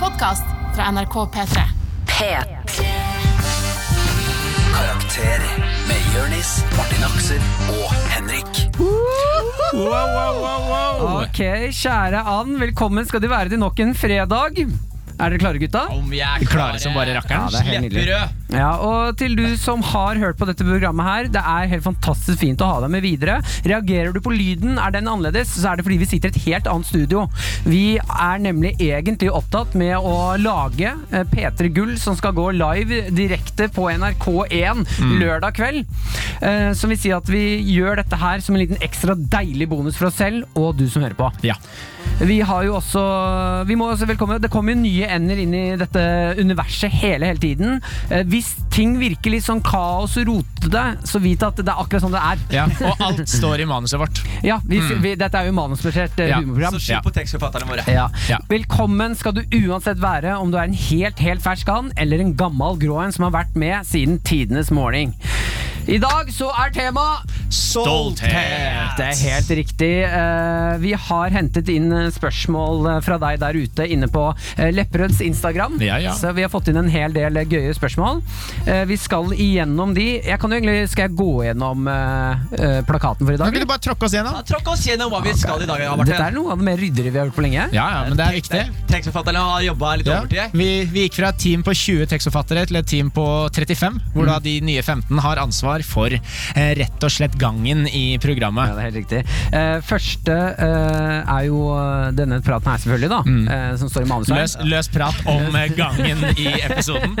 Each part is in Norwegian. podkast fra NRK P3. P3. Karakter med Jørnis, Martin Aksel og Henrik. Wow, wow, wow, wow. Ok, kjære Ann, velkommen skal du være til nok en fredag. Er dere klare, gutta? Om vi er klare som bare rakkeren. Ja, det er helt nydelig. Slepperød. Ja, og til du som har hørt på dette programmet her, det er helt fantastisk fint å ha deg med videre. Reagerer du på lyden, er den annerledes, så er det fordi vi sitter i et helt annet studio. Vi er nemlig egentlig opptatt med å lage eh, P3 Gull, som skal gå live direkte på NRK1 Mm. lørdag kveld. Eh, Som vil si at vi gjør dette her som en liten ekstra deilig bonus for oss selv, og du som hører på. Ja. Vi har jo også Vi må også velkommen Det kommer jo nye ender inn i dette universet hele, hele tiden. Eh, Hvis ting virker litt sånn kaos og rotete, så vit at det er akkurat sånn det er. ja. Og alt står i manuset vårt. Ja, vi, vi, Dette er jo manusbasert eh, Ja, humorprogram. Så skyld Ja. på tekstforfatterne våre. Ja. Ja. Velkommen skal du uansett være om du er en helt, helt fersk and eller en gammel grå en som har vært med siden tidenes morning. I dag så er tema Stolthet! Det er helt riktig. Eh, Vi har hentet inn eh, spørsmål eh, fra deg der ute inne på eh, Lepperøds Instagram. Ja, ja. Så vi har fått inn en hel del eh, gøye spørsmål. Eh, Vi skal igjennom de. Jeg kan jo egentlig, skal jeg gå gjennom eh, eh, plakaten for i Kan dag? ikke du eller? bare tråkke oss Ja, gjennom? Tråkk oss gjennom hva vi skal i dag. Ja, Dette Martin. er noe av det mer ryddigere vi har gjort på lenge. Ja, ja, men det er viktig. Tekstforfatterne har jobba litt Ja. overtid. Vi, vi gikk fra et team på 20 tekstforfattere til et team på 35, hvor Mm. da de nye 15 har ansvar for eh, rett og slett gangen i Ja, programmet. det er helt riktig. Eh, første eh, er jo eh, denne praten her, selvfølgelig, da. Mm. eh, som står i manuset. her. Løs, løs prat om eh, gangen i episoden.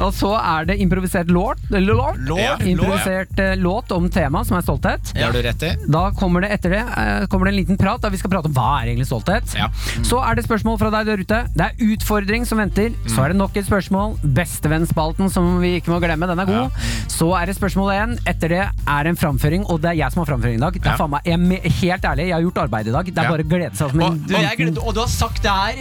Og så er det improvisert låt, låt, Låt, ja. improvisert eh, låt om temaet, som er stolthet. Det har du rett i. Da kommer det etter det eh, kommer det en liten prat der vi skal prate om hva er egentlig stolthet. Ja. Så er det spørsmål fra deg der ute. Det er utfordring som venter. Mm. Så er det nok et spørsmål. Bestevennspalten, som vi ikke må glemme, den er god. Så er det spørsmål én. Etter det er en framføring, og det er jeg som har framføring i dag. Det Ja. er faen meg, jeg, er me- helt ærlig, jeg har gjort arbeid i dag. Det Ja. er bare å glede seg. som en Og du, jeg liten- glemte, og du har sagt det her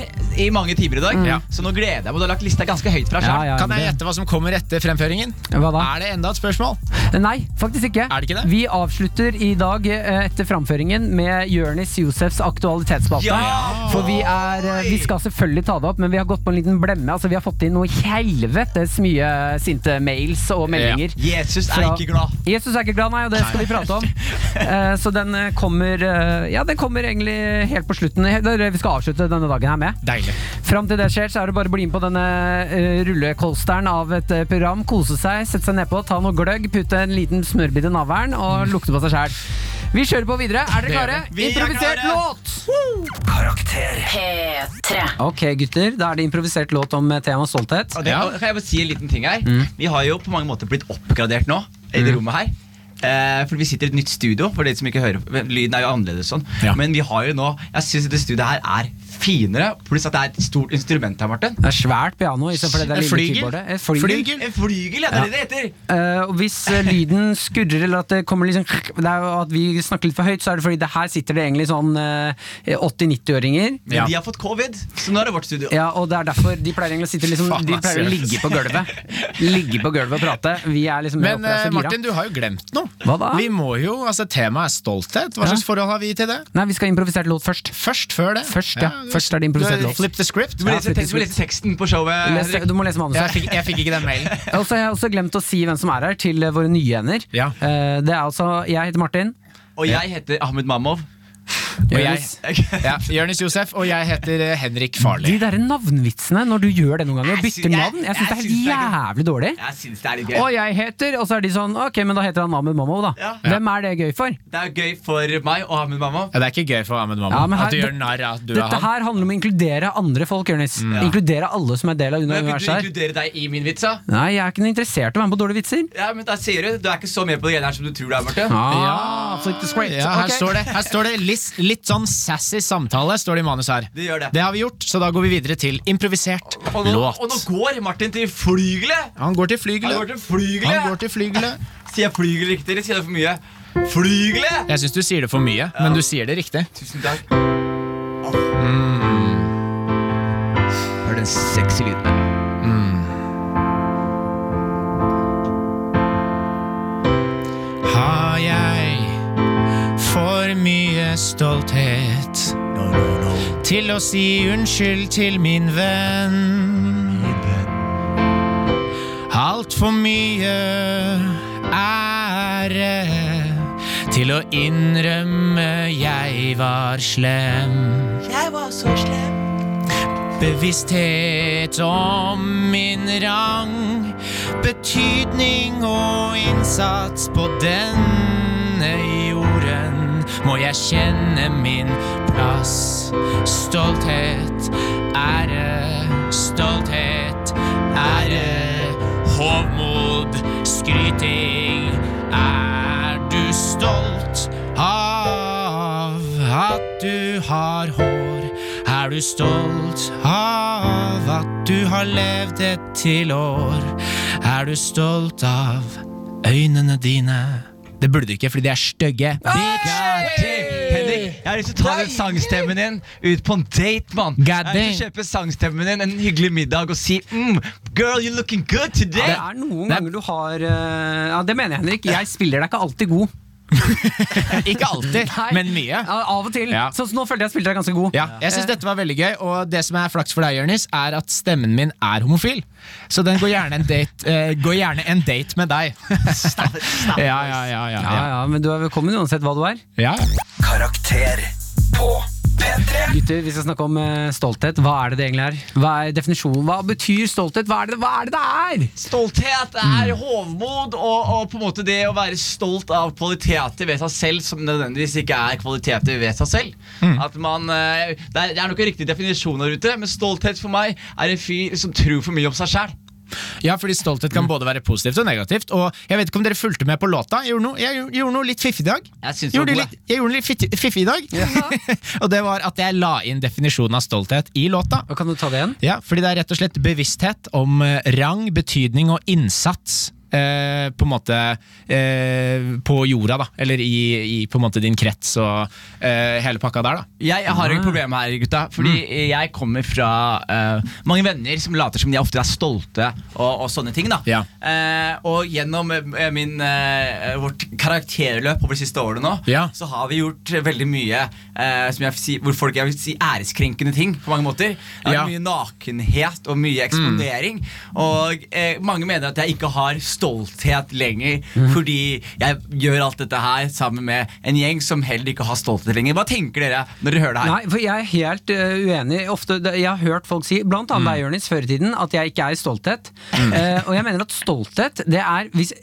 i mange timer i dag, Ja. så nå gleder jeg meg. Du har lagt lista ganske høyt fra ja, skjerm. ja, Kan jeg det- gjette hva som kommer etter fremføringen? Hva da? Er det enda et spørsmål? Nei, faktisk ikke. Er det ikke det? Vi avslutter i dag eh, etter framføringen med Jonis Josefs aktualitetsspalte. Ja! For vi, er, eh, vi skal selvfølgelig ta det opp, men vi har gått på en liten blemme. Altså, vi har fått inn noe helvetes mye sinte mails og meldinger. Jesus er Fra- ikke glad. Jesus er ikke glad, nei, og det skal vi prate om. Eh, så den eh, kommer eh, Ja, den kommer egentlig helt på slutten. Det er det vi skal avslutte denne dagen her med. Deilig. Fram til det skjer, så er det bare å bli med på denne eh, rullekolsteren av et eh, program. Kose seg, sette seg nedpå, ta noe gløgg, putte en liten smørbit i navlen og lukte på seg sjæl. Vi kjører på videre. Er Det dere gjør klare? vi. Vi er Improvisert klare. låt! Karakter. P3. Ok, gutter. Da er det improvisert låt om temaet stolthet. Og det, Ja. og Kan jeg bare si en liten ting her? Mm. Vi har jo på mange måter blitt oppgradert nå i det rommet her. Eh, for vi sitter i et nytt studio. For de som ikke hører Lyden er jo annerledes sånn. Ja. Men vi har jo nå Jeg syns det studioet her er finere. Pluss at det er et stort instrument her, Martin. Det er svært piano. i stedet for det der En lille flygel. keyboardet. Et Flygel. En flygel, ja. Det er det det heter. Eh, og hvis eh, lyden skurrer, eller at det kommer liksom det er jo at vi snakker litt for høyt, så er det fordi det her sitter det egentlig sånn eh, 80-90-åringer. Men Ja. de har fått covid, så nå er det vårt studio. Ja, og det er derfor de pleier egentlig å sitte liksom Faen, De ass, pleier å Jørgen. ligge på gulvet. Ligge på gulvet og prate. Vi er liksom mer Men eh, oppreist og gira. Martin, du har jo glemt noe. Hva da? Vi må jo, altså Temaet er stolthet. Hva Ja. slags forhold har vi til det? Nei, vi skal ha improvisert låt først. Først før det. Først, ja. Først er det improvisert du- låt. Flip the script. Du må, Ja, lese, du må lese teksten på showet. Eh, Les, Henrik. du må lese manuset. Jeg, fikk, jeg fikk ikke den mailen. Og så har jeg også glemt å si hvem som er her, til eh, våre nye ender. Ja. Eh, det er altså Jeg heter Martin. Og jeg heter Ahmed Mamov. Og jeg- Jonis. Ja, Jonis Josef, og jeg heter eh, Henrik Farli. De derre navnvitsene når du gjør det noen ganger, og bytter Jeg sy- jeg- navn, jeg syns det jeg er syns det er jævlig dårlig. Jeg syns det er litt Og gøy. jeg heter Og så er de sånn Ok, men da heter han Ahmed Mammo, da. Ja. Hvem er det gøy for? Det er gøy for meg og Ahmed Mamov. Ja, det er ikke gøy for Ahmed Ja, men Mamma her- at du gjør det- narr av at du er Dette han. Mm. her handler om å inkludere andre folk, Jonis. Inkludere alle som er del av Men Vil du universet her. inkludere deg i min vits? da? Nei, jeg er ikke noe interessert i å være med på dårlige vitser. Ja, men da sier Du du er ikke så med på det greiene her som du tror du er, Marte. Ah, flip the script. Ja, her Ok. står det, her står det litt, litt sånn sassy samtale står det i manus her. Det gjør det. har vi gjort, så da går vi videre til improvisert Og nå, låt. og nå går Martin til flygelet! Han går til Han går flygelet. til flygelet. Han går til flygelet. Sier jeg flygel riktig, eller sier jeg det for mye? Flygelet! Jeg syns du sier det for mye, men du sier det riktig. Tusen takk. Hør den sexy lyden. Har jeg for mye stolthet til å si unnskyld til min venn. Altfor mye ære til å innrømme jeg var slem. Jeg var så slem. Bevissthet om min rang, betydning og innsats på denne jorden. Må jeg kjenne min plass, stolthet, ære, stolthet, ære. Hovmod, skryting, er du stolt av at du har hår? Er du stolt av at du har levd et til år? Er du stolt av øynene dine? Det burde du ikke, fordi de er stygge. Henrik, jeg har lyst til å ta den sangstemmen din ut på en date, mann. Jeg har lyst til å kjøpe sangstemmen din en hyggelig middag og si mm, Girl, you're looking good Ja, today. det er noen ganger du har eh, Ja, det mener jeg, Henrik. Jeg spiller deg ikke alltid god. Ikke alltid, Nei. men mye. Ja, av og til. Ja. Sånn som nå følte jeg spilte deg ganske god. Ja, jeg synes dette var veldig gøy Og det som er flaks for deg, Jørnis Er at stemmen min er homofil Så den går gjerne en date, eh, går gjerne en date med deg ja, ja, ja, ja, Ja, ja. ja, men du er velkommen uansett hva du er. ja. Karakter på P3. Gutter, vi skal snakke om eh, stolthet. Hva er det det egentlig er? Hva er definisjonen? Hva betyr stolthet? Hva er det hva er? Det det er? Stolthet er hovmod, og, og på en måte det å være stolt av kvaliteter ved seg selv som nødvendigvis ikke er kvaliteter ved seg selv. At man, eh, det, er, det er nok en riktig definisjon der ute, men stolthet for meg er en fyr som tror for mye om seg sjæl. ja, fordi stolthet kan både være positivt og negativt Og jeg vet ikke om dere fulgte med på låta Jeg gjorde noe, jeg gjorde- gjorde noe litt fiffig i dag Jeg syns det var gjorde god, litt, Jeg gjorde litt fitti- fiffig i dag Og det var at jeg la inn definisjonen av stolthet i låta Og Kan du ta det igjen? Ja, fordi det er rett og slett bevissthet om eh, rang, betydning og innsats. Eh, på en måte eh, på jorda, da. Eller i, i på en måte din krets og eh, hele pakka der, da. Jeg har Ah. et problem her, gutta. Fordi Mm. jeg kommer fra eh, mange venner som later som de ofte er stolte og, og sånne ting. da Ja. Eh, Og gjennom eh, min, eh, vårt karakterløp over de siste årene nå, Ja. så har vi gjort veldig mye eh, som jeg vil si, hvor folk jeg vil si æreskrenkende ting på mange måter. Det er Ja. Mye nakenhet og mye eksponering. Mm. Og eh, mange mener at jeg ikke har stolthet lenger Mm. fordi jeg gjør alt dette her sammen med en gjeng som heller ikke har stolthet lenger. Hva tenker dere når dere hører det her? Nei, for jeg er helt eh, uenig. Ofte, det- jeg har hørt folk si, blant annet Mm. deg, Jonis, før i tiden, at jeg ikke er i stolthet. Eh, og jeg mener at stolthet, det er hvis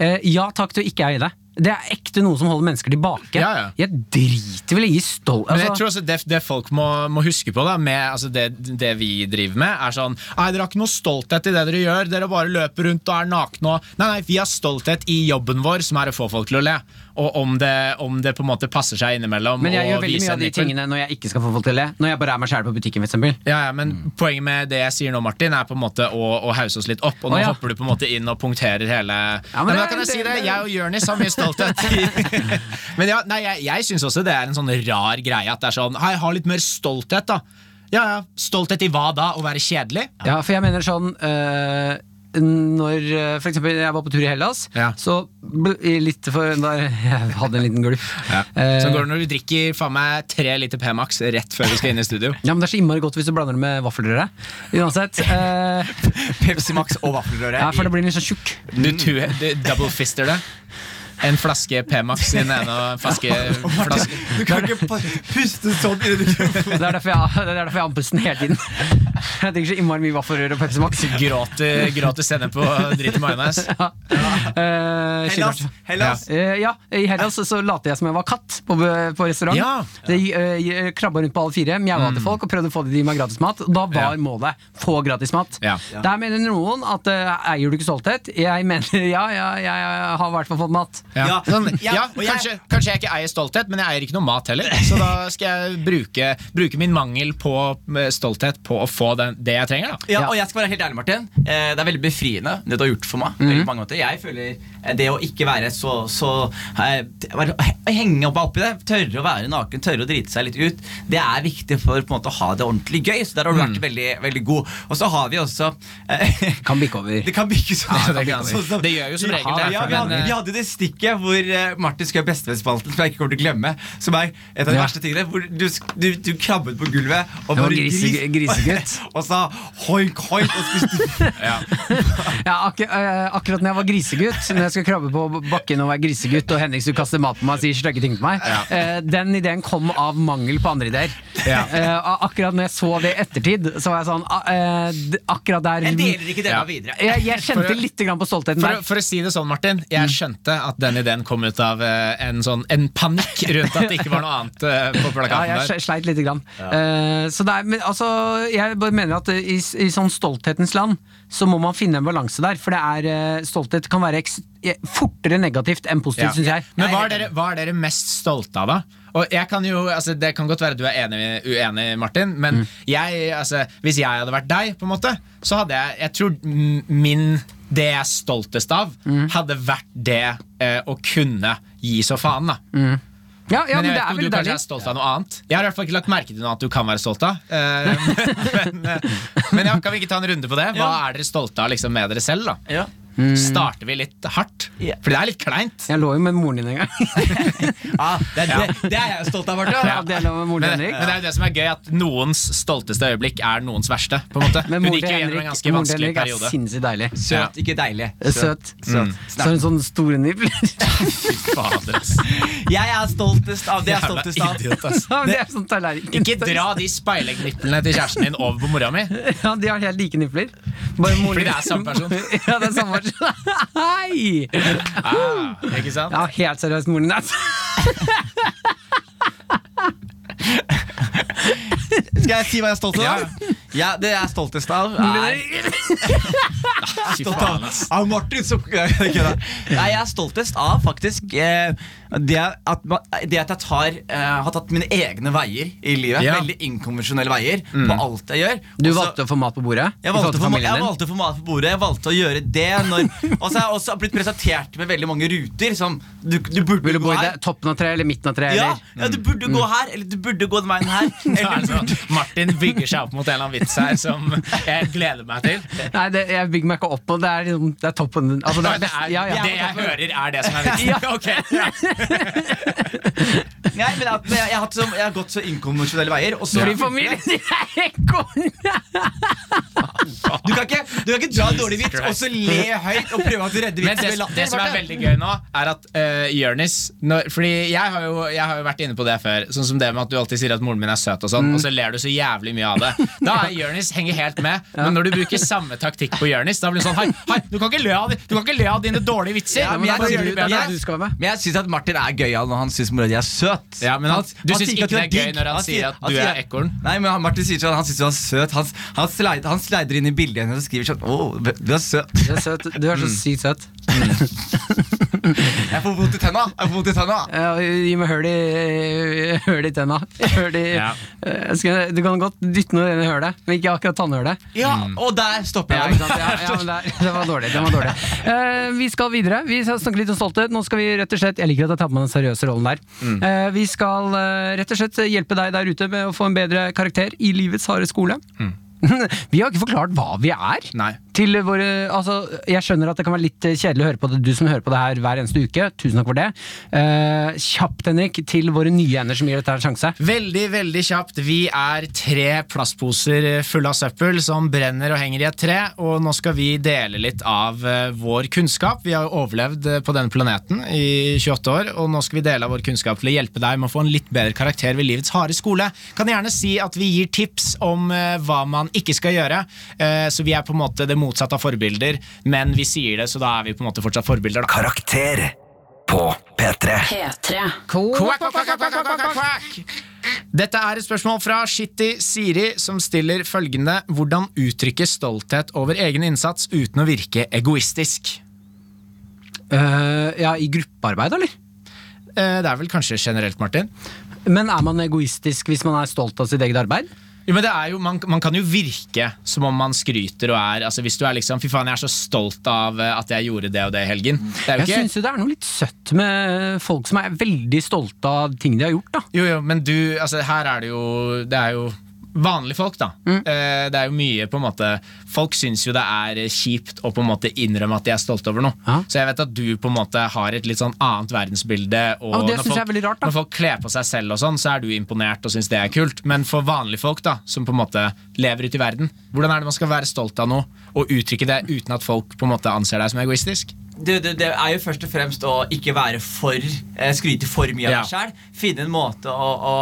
eh, Ja takk, du ikke er i det. Det er ekte noe som holder mennesker tilbake. Ja, ja. Jeg driter vel i altså, stolthet. Men jeg tror også det, det folk må, må huske på, da med altså det, det vi driver med, er sånn Nei, dere har ikke noe stolthet i det dere gjør. Dere bare løper rundt og er nakne og Nei, nei, vi har stolthet i jobben vår, som er å få folk til å le. Og om det, om det på en måte passer seg innimellom. Men jeg å gjør veldig mye vise en av de nippel. tingene når jeg ikke skal få folk til å le. Når jeg bare er meg sjæl på butikken, for eksempel. Ja, ja, men Poenget med det jeg sier nå, Martin, er på en måte å, å hause oss litt opp. Og nå Å, ja. hopper du på en måte inn og punkterer hele Ja, men Nei, men Da det- kan jeg si det- det! det- Jeg og Jonis har mye stolthet. men ja, nei, jeg, jeg syns også det er en sånn rar greie at det er sånn Hei, ha litt mer stolthet, da. Ja, ja, Stolthet i hva da? Å være kjedelig? Ja, for jeg mener sånn øh, Når øh, for eksempel jeg var på tur i Hellas, Ja. så ble, i litt for der, Jeg hadde en liten gulp. Eh, Sånn går det når du drikker faen meg tre liter P-Max rett før vi skal inn i studio. ja, men Det er så innmari godt hvis du blander det med vaffelrøre. Uansett. eh, Pepsi Max og vaffelrøre. ja, for det blir litt sånn tjukk. Du, tu- du double fister det. En flaske P-Max i den ene og en flaske, flaske Du kan ikke pa- puste sånn i Det mikrofonen. er derfor jeg, det er derfor jeg har andpusten hele tiden. Jeg drikker så innmari mye vaffelrøre og Pepsi Max. Gråter, gråter sennep og drit i majones. Ja. Eh, Hellas, skinnart. Hellas. Eh, ja, I Hellas så- så later jeg som jeg var katt på, på restaurant. Ja. Mm. Det, eh, krabba rundt på alle fire, mjaua til folk og prøvde å få dem til å gi meg gratis mat. Da var Ja. målet få gratis mat. Ja. Der mener noen at eh, eier du ikke stolthet? Jeg mener ja, ja jeg har i hvert fall fått mat. Ja, Ja. sånn, Ja, ja, og jeg- kanskje, kanskje jeg ikke eier stolthet, men jeg eier ikke noe mat heller. Så da skal jeg bruke, bruke min mangel på eh, stolthet på å få den, det jeg trenger. Da. Ja, Ja. og jeg skal være helt ærlig, Martin. Eh, det er veldig befriende, det du har gjort for meg. Mhm. Veldig på mange måter. Jeg føler eh, det å ikke være så, så eh, være- he- Henge opp oppi det, tørre å være naken, tørre å drite seg litt ut, det er viktig for på en måte, å ha det ordentlig gøy. Så der har du Mhm. vært veldig, veldig god. Og så har vi også eh, Kan bikke over. Det kan bikke sånn. Ja, det kan bikke. Det gjør jo som Vi regel har- det, Ja, vi, men, hadde, eh, vi hadde det stikk uke hvor eh, Martin skrev Bestevennsspalten, som jeg ikke kommer til å glemme. Som er et av de Ja. verste tingene. Hvor du, sk- du, du krabbet på gulvet og var bare grise- grisegutt. og sa hoik, hoik. Og spiste Ja, akkur eh, akkurat når jeg var grisegutt, når jeg skal krabbe på bakken og være grisegutt, og Henning skulle kaste mat på meg og sier stygge ting på meg, eh, den ideen kom av mangel på andre ideer. Ja. Eh, og akkurat når jeg så det i ettertid, så var jeg sånn ah, eh, d- Akkurat der Jeg deler ikke denne Ja. videre. jeg, jeg For kjente å- litt grann på stoltheten For, der. å- for å si det sånn, Martin. Jeg skjønte at den ideen kom ut av eh, en, sånn, en panikk rundt at det ikke var noe annet eh, på Ja, plakaten jeg der. sle- sleit lite grann. Eh, så det er, men altså, jeg bare mener at eh, i, s- i sånn stolthetens land så må man finne en balanse der. For det er, eh, stolthet kan være eks- eh, fortere negativt enn Ja. positivt, synes syns jeg. Men hva er, dere, hva er dere mest stolte av, da? Og jeg kan jo, altså Det kan godt være du er enig, uenig, Martin, men Mm. jeg, altså, hvis jeg hadde vært deg, på en måte så hadde jeg jeg tror m- min, det jeg er stoltest av, Mm. hadde vært det eh, å kunne gi så faen. da Ja, ja, Men men det er jeg vet ikke om veldig du kanskje deilig. er stolt av noe annet. Jeg har i hvert fall ikke lagt merke til noe annet du kan være stolt av. Eh, men, men, men ja, kan vi ikke ta en runde på det? Hva Ja. er dere stolte av liksom, med dere selv? da? Ja. Mm. Starter vi litt hardt? Ja. Fordi det er litt kleint. Jeg lå jo med moren din en gang. Ja, det, er- det, det er jeg stolt av, Martin. Ja, det lå med moren Men, til men det Henrik. er jo det som er gøy, at noens stolteste øyeblikk er noens verste. på en måte Men Hun moren gikk til jo gjennom en Henrik, moren ganske til vanskelig Henrik er periode. sinnssykt deilig. Søt, ikke deilig. Søt. Søt. Så Mm. har hun sånne store nipler. Fader, ass. Jeg er stoltest av det jeg er Jævla stoltest av. idiot, ass. Ja, men det er sånn tallerken. Ikke dra de speilegniplene til kjæresten din over på mora mi. Ja, de har helt like nipler. Bare moren Fordi din- det er samme person. ja, det er samme person. Hei! Ah, ikke sant? Ja, helt seriøst, moren din altså. er Skal jeg si hva jeg er stolt Ja. av? Ja, det jeg er stoltest av, er Fy stolt faen, av, ass. av Martin som Nei, kødda. Nei, jeg er stoltest av faktisk eh, det, at, ma- det at jeg tar, eh, har tatt mine egne veier i livet. Ja. Mm. Veldig inkonvensjonelle veier på alt jeg gjør. Du Også- valgte å få mat på bordet? i jeg forhold valgte, til å få ma- familien jeg din? valgte å få mat på bordet, jeg valgte å gjøre det. Når, og så har jeg også blitt presentert med veldig mange ruter. Som du, du burde, Vil du gå bo i her. det, toppen av tre eller midten av tre? Ja, Eller? Mm. ja, du burde gå her, eller du burde gå den veien her. Da er Eller det sånn, Martin bygger seg opp mot en eller annen vits her som jeg gleder meg til. Nei, det, jeg bygger meg ikke opp på det. Er, liksom- det er toppen altså, det, Nei, er Det, best, er, ja, ja. det jeg hører, er det som er vitsen. Ja. Ok, ja. Nei, men at, jeg, jeg, har hatt så, jeg har gått så inkonvensjonelle veier. Og så Fordi familien din er konge! Du kan ikke, du kan ikke dra en dårlig vits Christ. og så le høyt og prøve at du redder Men vitsen det, med latter. det som er Marte. veldig gøy nå, er at uh, Jørnis når, Fordi jeg har, jo, jeg har jo vært inne på det før, sånn som det med at du alltid sier at moren min er søt, og sånn Og så ler du så jævlig mye av det. Da er Jørnis henger helt med. Men når du bruker samme taktikk på Jørnis, da blir det sånn Hei, hei du, kan ikke le av, de- du kan ikke le av dine dårlige vitser! Ja, men Da da bare blir gjør du- de da bedre. blir du skal være med. Men jeg syns at Martin er gøyal når han syns mora di er søt. Ja, men han- du synes sier ikke det er du gøy når han sier at du er ekorn? Nei, men han- Martin sier sånn, han syns du er søt. Han, han, slider, han slider inn i bildet hennes og skriver sånn Å, du er søt. Du er, søt. du er så sykt søt. Jeg får vondt i tenna! Jeg får vondt i tenna. Ja, Gi meg høl i, høl i tenna. Høl i, Ja. Eh, skal, du kan godt dytte noe inn i hølet, men ikke akkurat tannhølet. Ja, og der stopper Ja, jeg. ikke sant? Ja, ja, men det, det var dårlig. Det var dårlig. Eh, vi skal videre. Vi skal snakke litt om stolthet. Nå skal vi rett og slett Jeg liker at jeg tar på meg den seriøse rollen der. Eh, vi skal eh, rett og slett hjelpe deg der ute med å få en bedre karakter i livets harde skole. vi har ikke forklart hva vi er. Nei. Til våre, altså, jeg skjønner at det kan være litt eh, kjedelig å høre på det, du som hører på det her hver eneste uke. Tusen takk for det. Eh, kjapt, Henrik, til våre nye ender som gir dette her en sjanse. Veldig, veldig kjapt. Vi er tre plastposer fulle av søppel som brenner og henger i et tre, og nå skal vi dele litt av eh, vår kunnskap. Vi har jo overlevd eh, på denne planeten i 28 år, og nå skal vi dele av vår kunnskap til å hjelpe deg med å få en litt bedre karakter ved livets harde skole. Kan gjerne si at vi gir tips om eh, hva man ikke skal gjøre, eh, så vi er på en måte det motsatte av forbilder, men vi sier det, så da er vi på en måte fortsatt forbilder, da. Karakter på P3. P3. Quack, quack, quack, quack, quack, quack, quack. Dette er et spørsmål fra Shitty Siri, som stiller følgende Hvordan uttrykke stolthet over egen innsats uten å virke egoistisk? Eh, ja, I gruppearbeid, eller? Eh, Det er vel kanskje generelt, Martin? Men er man egoistisk hvis man er stolt av sitt eget arbeid? Jo, men det er jo, man, man kan jo virke som om man skryter og er altså Hvis du er liksom Fy faen, jeg er så stolt av eh, at jeg gjorde det og det i helgen. Det er jo Jeg ikke syns jo det er noe litt søtt med folk som er veldig stolte av ting de har gjort, da. Jo, jo, men du, altså her er det jo Det er jo vanlige folk, da. Mm. Eh, det er jo mye på en måte Folk syns jo det er kjipt å på en måte innrømme at de er stolte over noe. Ja. Så jeg vet at du på en måte har et litt sånn annet verdensbilde. Og Ja, og det når synes jeg folk- er veldig rart, da. Når folk kler på seg selv og sånn, så er du imponert og syns det er kult. Men for vanlige folk, da, som på en måte lever ute i verden, hvordan er det man skal være stolt av noe og uttrykke det uten at folk på en måte anser deg som egoistisk? det, det, det er jo først og fremst å ikke være for eh, skryte for mye av Ja. deg sjæl. Finne en måte å, å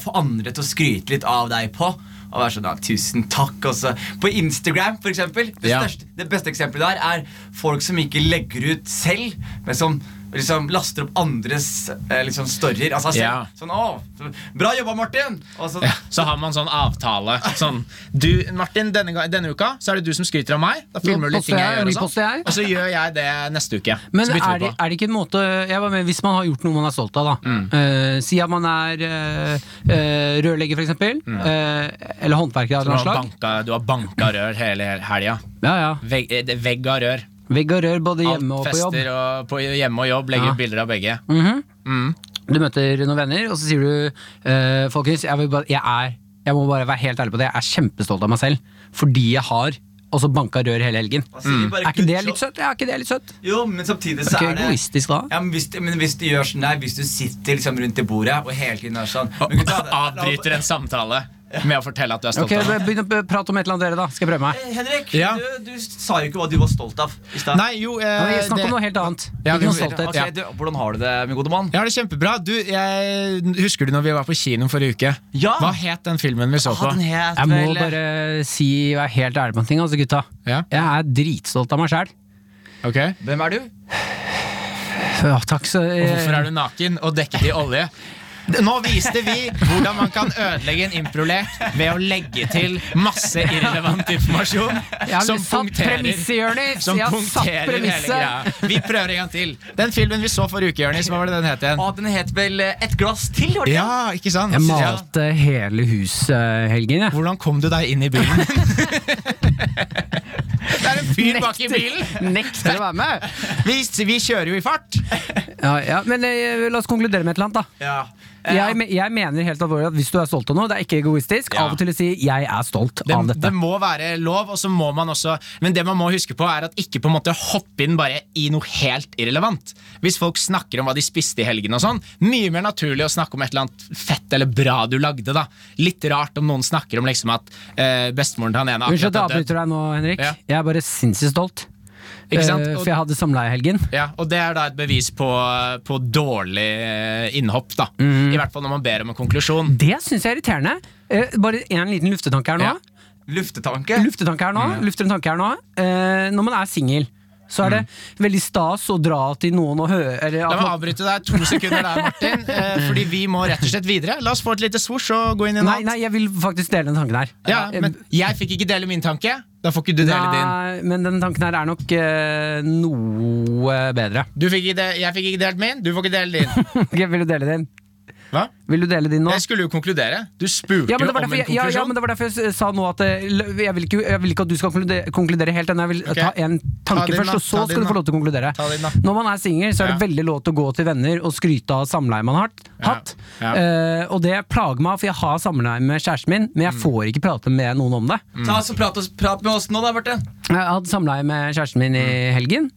få andre til å skryte litt av deg på. Og være sånn, ja, tusen takk også. På Instagram, for eksempel. Det, Ja. største, det beste eksempelet der er folk som ikke legger ut selv, men som liksom laster opp andres eh, liksom storyer. Altså, selv, Ja. Sånn, å, bra jobba, Martin! Og så, Ja, så har man sånn avtale. Sånn, du, Martin, denne, ga- denne uka så er det du som skryter av meg. Da filmer du litt poster ting jeg jeg, gjør, og, reposter sånn. jeg. og så gjør jeg det neste uke. Men så bytter er vi det, på. Mm. er det ikke en måte jeg var med, Hvis man har gjort noe man er stolt av, da. Eh, si at man er eh, eh, rørlegger, f.eks. eksempel eh, eller håndverker av Du noe Mm. har, slag. banka, du har banka rør hele helga. Ja, ja. Vegg, eh, det- vegg av rør. Vegg og rør både Alt hjemme og på jobb. fester og på hjemme og jobb. Legger Ja. Mm. ut bilder av begge. Mm. Du møter noen venner, og så sier du eh, Folkens, jeg, vil bare, jeg er Jeg må bare være helt ærlig på det, jeg er kjempestolt av meg selv. Fordi jeg har også banka rør hele helgen. og så Mm. sier bare, Er ikke «Good det job». litt søtt? Ja, er ikke det litt søtt? Jo, men samtidig Er så ikke er det egoistisk da? Ja, men hvis, du- men hvis du gjør sånn der, hvis du sitter liksom rundt i bordet og hele tiden er sånn men gutta, det- Avbryter en samtale med å fortelle at du er stolt Ok, av noe. Begynn å p- prate om et eller annet, dere, da. Skal jeg prøve meg. Eh, Henrik, Ja. du, du sa jo ikke hva du var stolt av i stad. Nei, jo eh, Nei, Snakk det- om noe helt annet. Ja, vi Ikke noe må- stolthet. Ok, du, hvordan har du det, min gode mann? Jeg har det kjempebra. Du, jeg, husker du når vi var på kino forrige uke? Ja. Hva het den filmen vi så på? Ah, den het Jeg må eh. vel- bare si og være helt ærlig på en ting, altså gutta. Ja. Jeg er dritstolt av meg sjæl. Ok. Hvem er du? Takk, så eh, Og hvorfor er du naken og dekket i olje? Nå viste vi hvordan man kan ødelegge en improlek ved å legge til masse irrelevant informasjon Jeg har som satt punkterer, premisset, Jonis! som Jeg har satt punkterer hele premisset! greia. Vi prøver en gang til. Den filmen vi så forrige uke, Jonis, hva var det den het igjen? Ah, den het vel eh, Et glass til? Var det ikke? Ja, ikke sant? Jeg Ja. malte hele huset helgen, jeg. Hvordan kom du deg inn i bilen? Det er en fyr bak i bilen! Nekter å være med! Vi, vi kjører jo i fart. Ja, ja, men eh, la oss konkludere med et eller annet, da. Ja. Eh, Jeg, me- jeg mener helt alvorlig at hvis du er stolt av noe, det er ikke egoistisk, Ja. av og til å si 'jeg er stolt det, av det dette'. må være lov, og så må man også Men det man må huske på, er at ikke på en måte hoppe inn bare i noe helt irrelevant. Hvis folk snakker om hva de spiste i helgen og sånn, mye mer naturlig å snakke om et eller annet fett eller bra du lagde, da. Litt rart om noen snakker om liksom at eh, bestemoren til han ene Unnskyld at jeg akkurat har dødd. avbryter deg nå, Henrik. Ja. Jeg er bare sinnssykt stolt. Ikke sant? Eh, Og- For jeg hadde samleie i helgen. Ja, og det er da et bevis på, på dårlig eh, innhopp, da. Mhm. I hvert fall når man ber om en konklusjon. Det syns jeg er irriterende. Eh, bare en liten luftetanke her nå. Ja. Mm. Luftetanke? Luftetanke her nå, lufter en tanke her nå. Eh, når man er singel, så er det Mm. veldig stas å dra til noen og høre eller, La at meg man- avbryte deg to sekunder der, Martin, eh, fordi vi må rett og slett videre. La oss få et lite svosj og gå inn i noe Nei, annet. nei, jeg vil faktisk dele den tanken her. Ja, Eh, men jeg fikk ikke dele min tanke. Da får ikke du dele din. Nei, men den tanken her er nok eh, noe bedre. Du fikk ikke de jeg fikk ikke delt min, du får ikke dele din. Ok, vil du dele din? Hva? Vil du dele din nå? Jeg skulle jo konkludere. Du spurte Ja men, det jo var om en derfor jeg, konklusjon. ja, ja, men det var derfor jeg s- sa nå at eh, l- jeg vil, ikke, jeg vil ikke at du skal konkludere, konkludere helt ennå. Jeg vil Ok. ta en tanke din, da. først, og Ta så din, skal du få da. lov til å konkludere. Ta din, da. Når man er singel, så er det Ja. veldig lov til å gå til venner og skryte av samleie man har hatt. Ja. Eh, og det plager meg, for jeg har samleie med kjæresten min, men Mm. jeg får ikke prate med noen om det. Ta oss og prat, oss, prat med oss nå, da, Martin. Jeg hadde samleie med kjæresten min i Mm. helgen,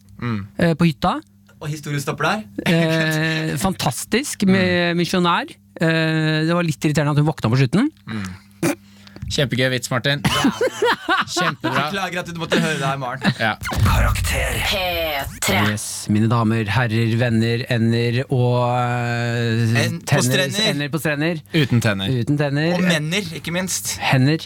eh, på hytta. Og historien stopper der. Eh, fantastisk med misjonær. Eh, det var litt irriterende at hun våkna på slutten. Kjempegøy vits, Martin. Kjempebra. Beklager at du måtte høre det her, Maren. Ja. Karakter. P3. Yes, mine damer, herrer, venner, ender og eh, En- på tenner, strender. ender på strender. Uten tenner. Uten tenner. Og menner, ikke minst. Hender.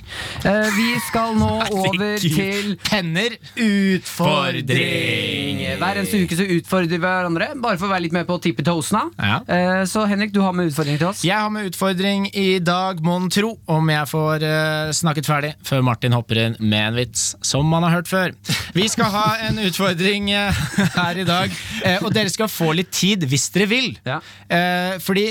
Eh, vi skal nå over til Penner. Utfordring. hver eneste uke så utfordrer vi hverandre, bare for å være litt med på tippetoesene. Ja. Eh, så Henrik, du har med utfordring til oss. Jeg har med utfordring i dag, mon tro, om jeg får eh, snakket ferdig før Martin hopper inn med en vits som man har hørt før. Vi skal ha en utfordring eh, her i dag, eh, og dere skal få litt tid hvis dere vil. Ja. Eh, fordi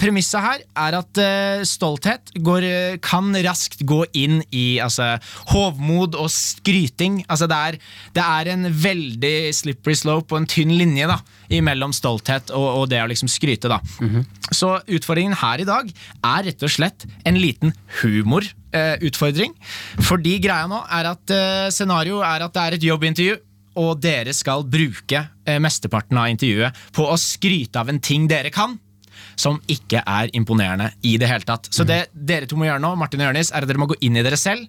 premisset her er at eh, stolthet går, eh, kan raskt gå inn i altså, hovmod og skryting. Altså, det, er, det er en veldig slippery slope og en tynn linje da, imellom stolthet og, og det å liksom skryte. Da. Så utfordringen her i dag er rett og slett en liten humor eh, utfordring. Fordi greia nå er at eh, scenario er at det er et jobbintervju. Og dere skal bruke eh, mesteparten av intervjuet på å skryte av en ting dere kan. Som ikke er imponerende i det hele tatt. Så det dere to må gjøre nå, Martin og Jørnis, er at dere må gå inn i dere selv.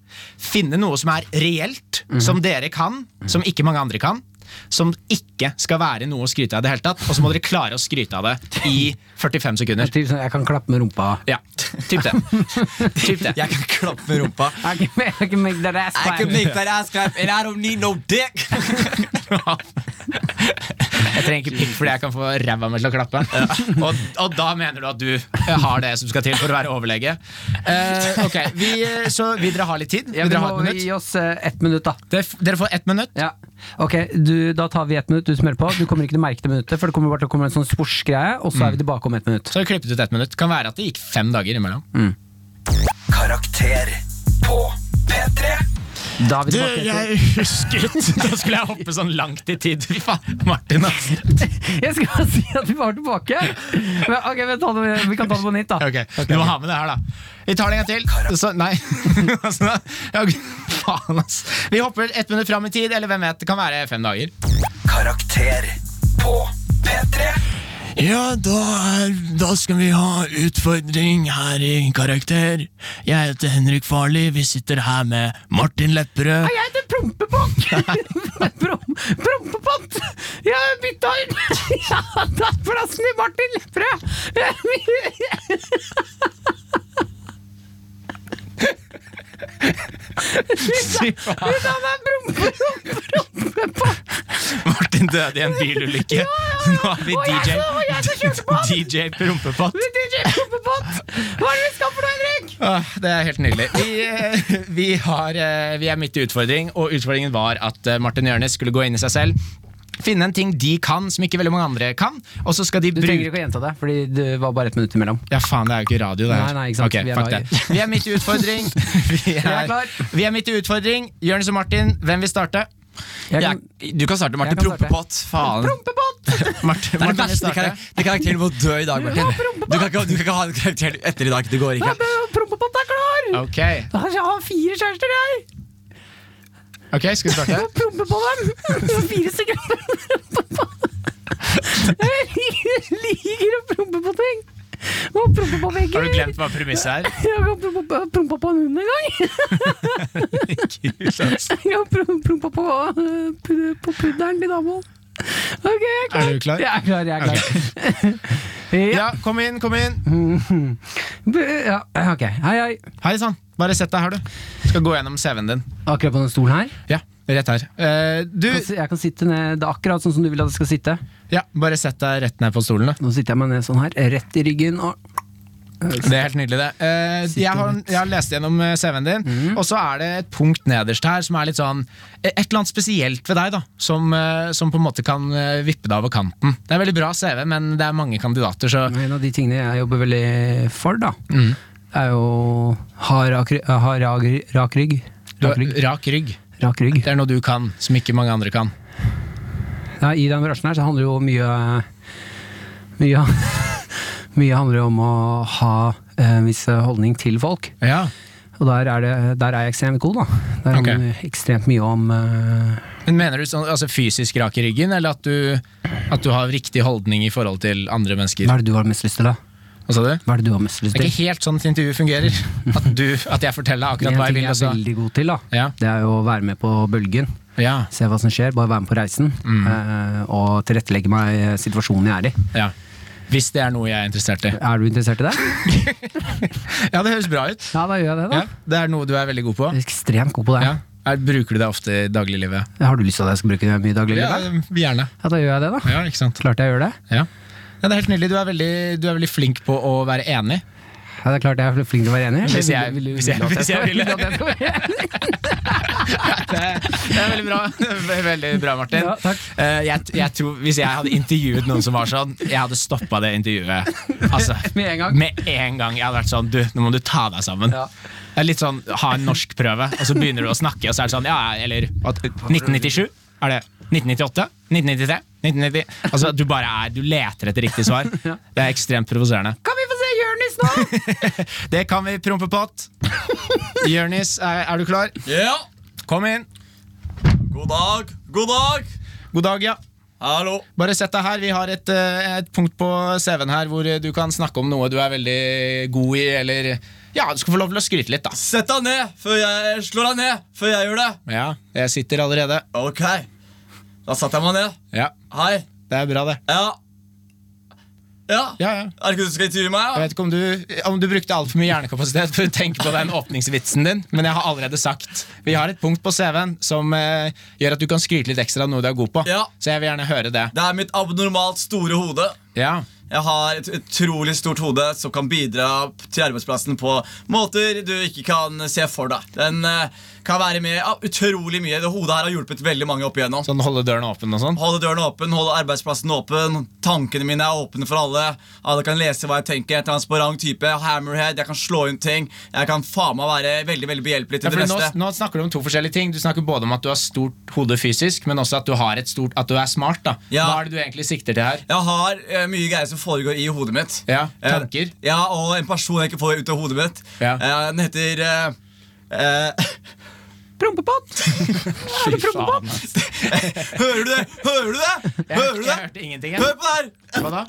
Finne noe som er reelt, som dere kan, som ikke mange andre kan. Som ikke skal være noe å skryte av i det hele tatt. Og så må dere klare å skryte av det i 45 sekunder. Typ sånn, Jeg kan klappe med rumpa. Ja, typ det. typ det. Jeg kan klappe med rumpa. I can make, I can make that ass I clap. can make that ass clap, and I don't need no dick! Jeg trenger ikke pikk fordi jeg kan få ræva mi til å klappe. Og, og da mener du at du har det som skal til for å være overlege? Eh, ok, vi, eh, Så vil dere ha litt tid? Ja, Vil vi dere ha må et minutt? gi oss eh, ett minutt, da. Dere f- Dere får ett minutt. Ja. Ok, du, Da tar vi ett minutt, du som hører på. Du kommer ikke til å merke det minuttet, for det kommer bare til å komme en sånn sportsgreie, og så er vi tilbake om ett minutt. Så har vi klippet ut ett minutt. Kan være at det gikk fem dager imellom. Karakter på P3. Da er vi tilbake. etter- husket Da skulle jeg hoppe sånn langt i tid. Fy faen, Martin, ass. Jeg skal bare si at vi var tilbake! Men, ok, vi, tar det, vi kan ta det på nytt, da. Ok, Du må ha med det her, da. Vi tar det en gang til. Så, nei. altså, ja, ok. faen, ass. Vi hopper ett minutt fram i tid, eller hvem vet. Det kan være fem dager. Karakter på P3. Ja, da, er, da skal vi ha utfordring her i Karakter. Jeg heter Henrik Farli, vi sitter her med Martin Lepperød. Jeg heter Prompepott! Prom, prompepott! Jeg har bytta ut Jeg har tatt plassen til Martin Lepperød! Hun har meg prompe, prompepott! Martin døde i en bilulykke. Nå er vi Og jeg DJ som- og jeg som kjørte på han. DJ Prompepott. DJ Prompepott! Hva er det vi skal for noe, Henrik? Åh, Det er helt nydelig. Vi, eh, vi, har, eh, vi er midt i utfordring, og utfordringen var at eh, Martin Jørnes skulle gå inn i seg selv. Finne en ting de kan som ikke veldig mange andre kan, og så skal de Du bruke trenger ikke å gjenta det, Fordi det var bare ett minutt imellom. Ja, faen, det er jo ikke radio, det her. Nei, nei, ikke sant. Ok, Vi er live. fuck det. Vi er midt i utfordring. Vi er, er klar. Vi er midt i utfordring. Jørnis og Martin, hvem vil starte? Jeg Jeg, kan, du kan starte, Martin. Jeg kan starte. Prompepott. Faen. Martin, Det er Martin den vil verste starte. kar det karakteren må dø i dag, Martin. Du kan, ikke, du kan ikke ha den karakteren etter i dag. Det går ikke. Prompepott er klar! Ok, Jeg har fire kjærester, jeg! ok, skal vi starte? prompe på dem! Fire stykker Jeg liker å prompe på ting! Må prompe på vegger. Har du glemt hva premisset er? Jeg har prompa på, prompa på en hund en gang! Jeg har prom- prompa på, eh, pu- på pudderen til dama. Ok, jeg er klar. Er du klar? Jeg er klar. Jeg er klar. ja. Ja, kom inn, kom inn. b- ja, ok. Hei, hei. Hei sann, bare sett deg her, du. Skal gå gjennom CV-en din. Akkurat på den stolen her. Ja, rett her. Eh, du Jeg kan si- Jeg kan sitte ned, det er akkurat sånn som du vil at jeg skal sitte. Ja, bare sett deg rett ned på stolen, du. Nå sitter jeg meg ned sånn her, rett i ryggen. og... Det er helt nydelig, det. Eh, jeg, har, jeg har lest gjennom eh, CV-en din, Mm. og så er det et punkt nederst her som er litt sånn eh, Et eller annet spesielt ved deg, da, som, eh, som på en måte kan eh, vippe deg over kanten. Det er veldig bra CV, men det er mange kandidater, så En av de tingene jeg jobber veldig for, da, Mm. er jo ha rak, ry- ha rak, ry- rak rygg. du, Rak rygg. Rak rygg. Rak rygg. Det er noe du kan som ikke mange andre kan. Ja, I den bransjen her så handler det jo mye Mye, mye handler jo om å ha eh, en viss holdning til folk. Ja, Og der er, det, der er jeg ekstremt god, da. Der Ok. handler det ekstremt mye om eh, Men mener du sånn, altså fysisk rak i ryggen, eller at du, at du har riktig holdning i forhold til andre mennesker? Hva er det du har mest lyst til, da? Hva sa du? Hva er det du har mest lyst Det er til? ikke helt sånn et intervju fungerer. At, du, at jeg forteller deg En akkurat hva ting jeg vil. jeg er Altså. veldig god til, da, Ja. det er jo å være med på bølgen. Ja, Se hva som skjer, bare være med på reisen. eh, og tilrettelegge meg eh, situasjonen jeg er i. ja. Hvis det er noe jeg er interessert i. Er du interessert i det? Ja, det høres bra ut. Ja, da gjør jeg det, da. Ja, det er noe du er veldig god på. Jeg er ekstremt god på det. Ja. Er, bruker du det ofte i dagliglivet? Har du lyst til at jeg skal bruke det mye i dagliglivet? Ja, gjerne. da gjør jeg det, da. Ja, ikke sant. Klart jeg gjør det. Ja. Ja, det er helt nydelig. Du er, veldig, du er veldig flink på å være enig. Ja, det er klart jeg er flink til å være enig. Hvis jeg- Vil du- vil du- hvis vil jeg- du at hvis jeg skal- ville. vil du at jeg skal være enig? Det er, det er veldig bra, Ve- veldig bra Martin. Ja, takk. Eh, jeg, t- jeg tror, hvis jeg hadde intervjuet noen som var sånn, jeg hadde stoppa det intervjuet. Altså, Med en gang. Med en gang. Jeg hadde vært sånn Du, nå må du ta deg sammen. Ja. Det er litt sånn ha en norskprøve, og så begynner du å snakke, og så er det sånn Ja, ja, eller at 1997? Er det 1998? 1993? 1990? Altså, du bare er Du leter etter riktig svar. Det er ekstremt provoserende. Kan vi få se Jonis oss nå! Det kan vi prompepott. Jørnis, er, er du klar? Ja, Kom inn. god dag, god dag. God dag, ja. Hallo. Bare sett deg her. Vi har et, eh, et punkt på CV-en her hvor eh, du kan snakke om noe du er veldig god i, eller Ja, du skal få lov til å skryte litt, da. Sett deg ned før jeg slår deg ned før jeg gjør det. Ja, jeg sitter allerede. Ok. Da satte jeg meg ned. Ja, Hei. det er bra, det. Ja. Ja. Ja, ja. Er det ikke du som skal intervjue meg? Jeg Ja? vet ikke om du, om du brukte altfor mye hjernekapasitet for å tenke på den åpningsvitsen din, men jeg har allerede sagt Vi har et punkt på CV-en som eh, gjør at du kan skryte litt ekstra av noe du er god på. Ja. Så jeg vil gjerne høre det. Det er mitt abnormalt store hode. Ja, Jeg har et utrolig stort hode som kan bidra til arbeidsplassen på måter du ikke kan se for deg. Den eh, kan være med ja, utrolig mye. Det hodet her har hjulpet veldig mange opp igjennom. Sånn holde døren åpen og sånn. Holde døren åpen, holde arbeidsplassen åpen. Tankene mine er åpne for alle. Alle kan lese hva jeg tenker. Jeg er transparent type. Hammerhead. Jeg kan slå inn ting. Jeg kan faen meg være veldig veldig Ja, behjelpelig til fordi det nå, meste. nå snakker du om to forskjellige ting. Du snakker både om at du har stort hode fysisk, men også at du, har et stort, at du er smart. da Ja. Hva er det du egentlig sikter til her? Jeg har eh, mye greier som foregår i hodet mitt. Ja, Eh, tanker. ja, Og en person jeg ikke får ut av hodet mitt. Ja. Eh, den heter eh, eh, Prompepott! Er det prompepott? Hører du det? Hører du det? Hører du det? hørte ingenting. Hør på det her! Hva da?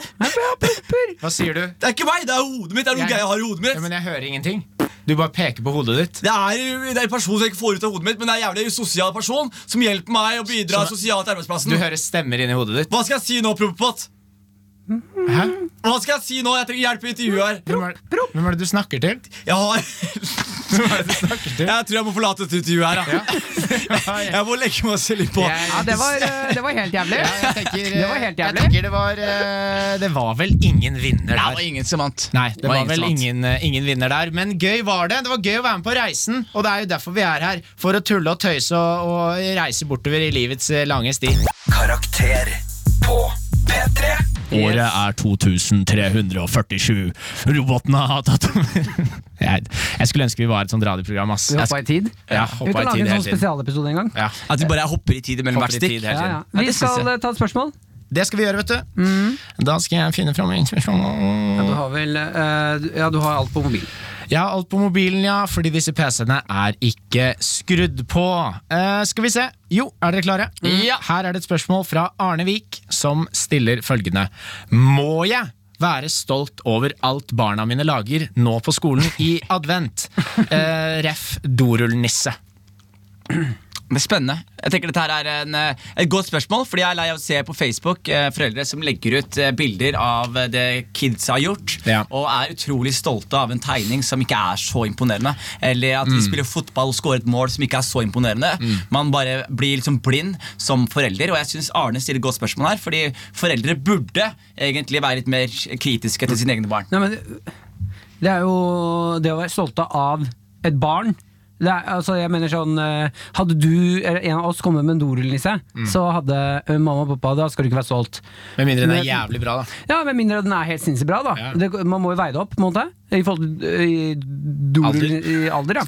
Hva sier du? Det er ikke meg, det er hodet mitt. Det er noe Jeg- greier jeg har i hodet Ja, mitt. men jeg hører ingenting. Du bare peker på hodet ditt. Det er, det er en person som jeg ikke får ut av hodet mitt, men det er en jævlig usosial person som hjelper meg å bidra Så- sosialt til arbeidsplassen. Du hører stemmer inni hodet ditt. Hva skal jeg si nå, Propopot? Hæ? Hva skal jeg si nå? Jeg trenger hjelp i intervjuet her. Hvem er, hvem er det du snakker til? Jeg har Hvem er det du snakker til? Jeg tror jeg må forlate dette intervjuet her. da. Jeg må legge meg selv litt på. Jeg- Ja, det var, eh, det var helt jævlig. Ja, jeg tenker, eh, Det var helt jeg jævlig. tenker det var eh, Det var vel ingen vinner der. Det var ingen som vant. Nei, det var vel som vant. ingen, eh, ingen vinner der, men gøy var det. Det var gøy å være med på reisen, og det er jo derfor vi er her. For å tulle og tøyse og, og reise bortover i livets eh, lange sti. Karakter på P3. Året er 2347. Robotene har tatt jeg, jeg skulle ønske vi var et sånt radioprogram, ass. Vi Jeg hoppa i tid. sk- ja, Vi hoppa kan i lage tid en hele sånn tiden. spesialepisode en gang. Ja, At vi bare hopper i tid mellom hopper i hvert stikk. tid hele Ja, tiden. ja. Ja, Vi det synes skal eh, ta et spørsmål. Det skal vi gjøre, vet du. Mm. Da skal jeg finne fram informasjon. Du har vel eh, du- Ja, du har alt på mobil. Jeg har alt på mobilen, ja, fordi disse PC-ene er ikke skrudd på. Eh, skal vi se. Jo, er dere klare? Ja. Her er det et spørsmål fra Arne Vik, som stiller følgende. Må jeg være stolt over alt barna mine lager nå på skolen i advent? Eh, ref. dorullnisse. Men spennende. Jeg tenker dette her er en, eh, et godt spørsmål, fordi jeg er lei av å se på Facebook eh, foreldre som legger ut eh, bilder av eh, det kids har gjort, Ja. og er utrolig stolte av en tegning som ikke er så imponerende. Eller at de Mm. spiller fotball og scorer et mål som ikke er så imponerende. Man bare blir liksom blind som forelder, og jeg syns Arne stiller et godt spørsmål her, fordi foreldre burde egentlig være litt mer kritiske til sine egne barn. Nei, men det er jo det å være stolte av et barn. Det er, altså, jeg mener sånn eh, Hadde du eller en av oss kommet med en dorullnisse, så hadde eh, mamma og pappa Da skal du ikke være stolt. Mm. Med mindre den er Men- jævlig bra, da. Ja, Med mindre den er helt sinnssykt bra. da Ja. det, Man må jo veie det opp. på en måte I forhold til eh, i dorull, Alder. i alder ja.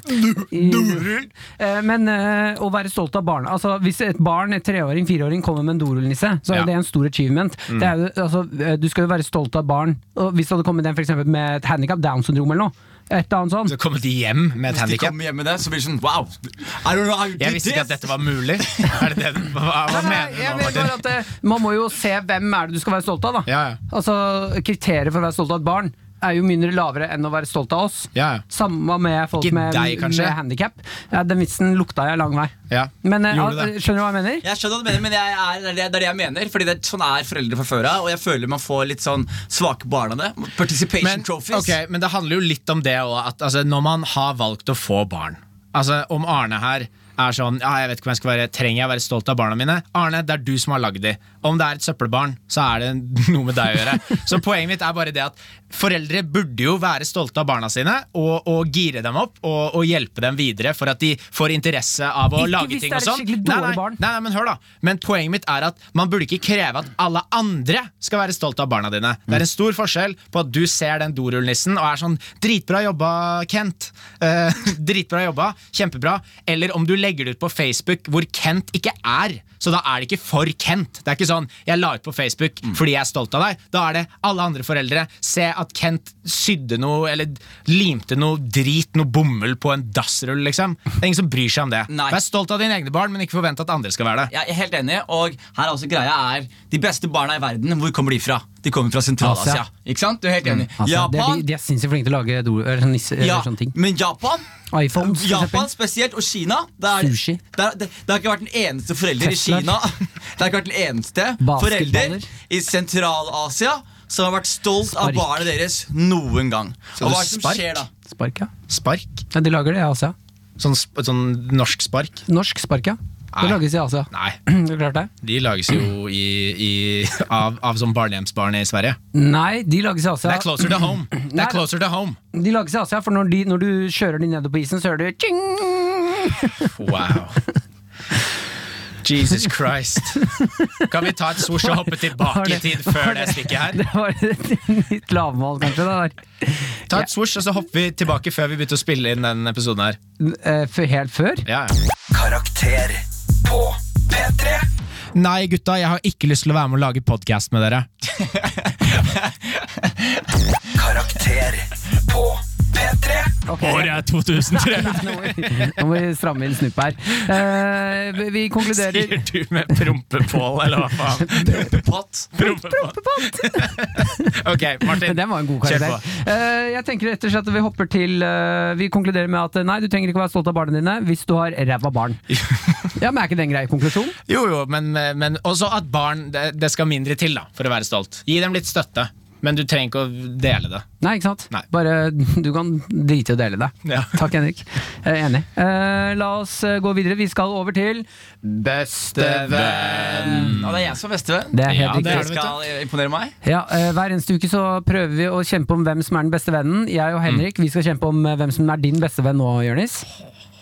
I, Eh, men eh, å være stolt av barna altså, Hvis et barn, et treåring, fireåring, kommer med en dorullnisse, så er Ja. Mm. det en stor achievement. Det er jo, altså, eh, du skal jo være stolt av barn. Og hvis det hadde kommet en for eksempel, med et handikap, Downs syndrom eller noe, et eller annet sånt Så kommer de hjem med et Hvis de handikap. kommer hjem med det, så blir det sånn wow! I don't know how you Jeg did visste ikke at this. dette var mulig. Er det det du, hva, hva Nei, mener du jeg nå, mener bare Martin? at eh, Man må jo se hvem er det du skal være stolt av. da Ja, ja. Altså Kriteriet for å være stolt av et barn er jo mindre lavere enn å være stolt av oss. Ja, ja. Samme med folk Ikke med, deg, kanskje? med handikap. Ja, den vitsen lukta jeg lang vei. Ja. Men eh, Gjorde al- det. skjønner du hva jeg mener? Jeg skjønner hva du mener, men jeg er, det, er det, det er det jeg mener. Fordi det er Sånn er foreldre fra før av. Og jeg føler man får litt sånn svake barn av det. Participation men, trophies. ok, men det handler jo litt om det òg, at altså, når man har valgt å få barn Altså Om Arne her er sånn ja, jeg vet ikke om jeg skal være Trenger jeg å være stolt av barna mine? Arne, det er du som har lagd de. Om det er et søppelbarn, så er det noe med deg å gjøre. Så poenget mitt er bare det at foreldre burde jo være stolte av barna sine og, og gire dem opp og, og hjelpe dem videre for at de får interesse av å Ikke lage hvis ting det er et og sånn. skikkelig dårlig nei, nei, barn. Nei, nei, men hør da Men poenget mitt er at man burde ikke kreve at alle andre skal være stolt av barna dine. Det er en stor forskjell på at du ser den dorullnissen og er sånn 'Dritbra jobba, Kent'. Eh, dritbra jobba, kjempebra. Eller om du legger det ut på Facebook hvor Kent ikke er. Så da er det ikke for Kent. Det er ikke sånn 'jeg la ut på Facebook fordi jeg er stolt av deg'. Da er det alle andre foreldre. Se at Kent sydde noe Eller limte noe drit, noe bomull, på en dassrull, liksom. Det er ingen som bryr seg om det. Nei. Vær stolt av dine egne barn, men ikke forvent at andre skal være det. Jeg er helt enig, og her er også greia er De beste barna i verden, hvor kommer de fra? De kommer fra Sentral-Asia. Asia. Ikke sant? Du er helt enig. Altså, det er, de, Japan, de er sinnssykt flinke til å lage do, eller sånn nisse, ja, eller sånne ting. men Japan iPhones, for Japan eksempel. spesielt, og Kina. Der, Sushi. Der, det, det har ikke vært en eneste forelder i Tesla. Kina. Det har ikke vært en eneste forelder Basketballer. i Sentral-Asia som har vært stolt Spark. av barnet deres noen gang. Skal og du hva er det som spark? skjer da? Spark, ja. Spark? ja. De lager det i Asia. Sånn, sp sånn norsk spark? Norsk spark, ja. Det Nei. lages i Asia. Nei. Det er klart det. De lages jo i, i, av, av sånn barnehjemsbarn i Sverige. Nei, de lages i Asia. Det er closer to home. Det Nei, er closer to home. De lages i Asia, for når, de, når du kjører de nedover på isen, så hører du tjing! Wow. Jesus Christ. Kan vi ta et swoosh og hoppe Var tilbake i det- tid før det stikket her? Det var et litt lavmål, kanskje. Det der. Ta et swoosh, og så hopper vi tilbake før vi begynte å spille inn den episoden her. Eh, for- Helt før? Ja, ja. Karakter på P3. Nei, gutta, jeg har ikke lyst til å være med og lage podkast med dere. Karakter på P3. Året er 2003, Nå må vi stramme inn snuppet her. Eh, vi- vi konkluderer sier du med prompepål, eller hva faen? Pott. Prompepott. Ok, Men Martin. den var en god Kjør karakter. Eh, jeg tenker rett og slett at Vi hopper til eh, Vi konkluderer med at eh, nei, du trenger ikke være stolt av barna dine hvis du har ræva barn. Ja, men Er ikke det en grei konklusjon? Jo, jo, men, men også at barn det, det skal mindre til da, for å være stolt. Gi dem litt støtte, men du trenger ikke å dele det. Nei, ikke sant? Nei. Bare Du kan drite i å dele det. Ja. Takk, Henrik. Jeg er enig. Eh, la oss eh, gå videre. Vi skal over til Bestevenn. Ja, det er jeg som er bestevenn. Det er helt Ja, det riktig. er Dere skal imponere meg. Ja, eh, Hver eneste uke så prøver vi å kjempe om hvem som er den beste vennen. Jeg Mm. og Henrik vi skal kjempe om eh, hvem som er din beste venn nå, Jonis.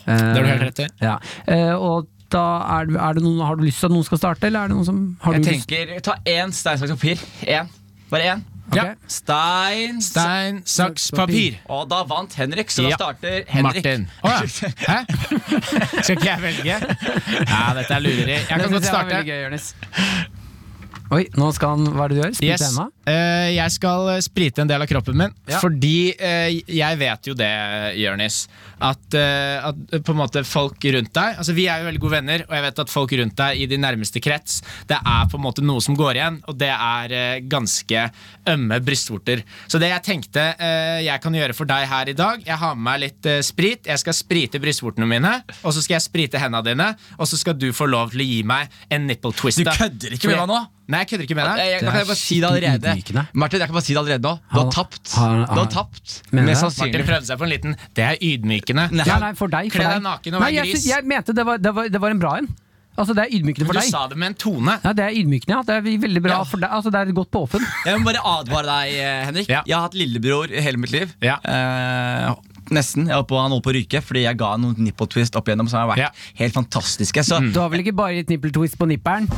Det har du helt rett i. Ja. Eh, og da er, det- er det noen, Har du lyst til at noen skal starte, eller er det noen som har Jeg du lyst? tenker, Ta én stein, saks, papir. Én. Bare én. Ja. Stein Stein, saks, papir. Og da vant Henrik, så Ja. da starter Henrik. Martin. Å ja. Hæ? Skal ikke jeg velge? Ja, dette er lureri. Jeg kan godt starte. Oi, nå skal han Hva er det du gjør? Spise Yes. henda? Eh, jeg skal eh, sprite en del av kroppen min, Ja. fordi eh, jeg vet jo det, Jørnis, at, eh, at eh, på en måte folk rundt deg Altså Vi er jo veldig gode venner, og jeg vet at folk rundt deg i din nærmeste krets Det er på en måte noe som går igjen, og det er eh, ganske ømme brystvorter. Så det jeg tenkte eh, jeg kan gjøre for deg her i dag Jeg har med meg litt eh, sprit. Jeg skal sprite brystvortene mine, og så skal jeg sprite hendene dine, og så skal du få lov til å gi meg en nipple twist. Du da. kødder ikke med meg nå? Nei, jeg kødder ikke med deg. Jeg, Eh, jeg, Det kan er jeg bare si det skikkelig allerede ydmykende. Martin, jeg kan bare si det allerede nå. Du Han- har tapt. han- Du han- har tapt. Mener du det? Mest Martin sannsynlig. prøvde seg på en liten Det er ydmykende. Nei, Ja, nei, for deg. For Kle deg deg. naken og Nei, vær jeg, gris. sy- jeg mente det var, det var, det var en bra en. Altså, det er ydmykende for Du deg. sa det med en tone. Ja, det er ydmykende. Ja. Det er veldig bra Ja. for deg. Altså, det er godt påfunn. Jeg må bare advare deg, eh, Henrik. Ja. Jeg har hatt lillebror i hele mitt liv. Ja. Eh, nesten. Jeg var på, han holdt på å ryke fordi jeg ga han noen nipple twist opp igjennom som har vært Ja. helt fantastiske. Så Du har vel ikke bare gitt nipple twist på nipperen?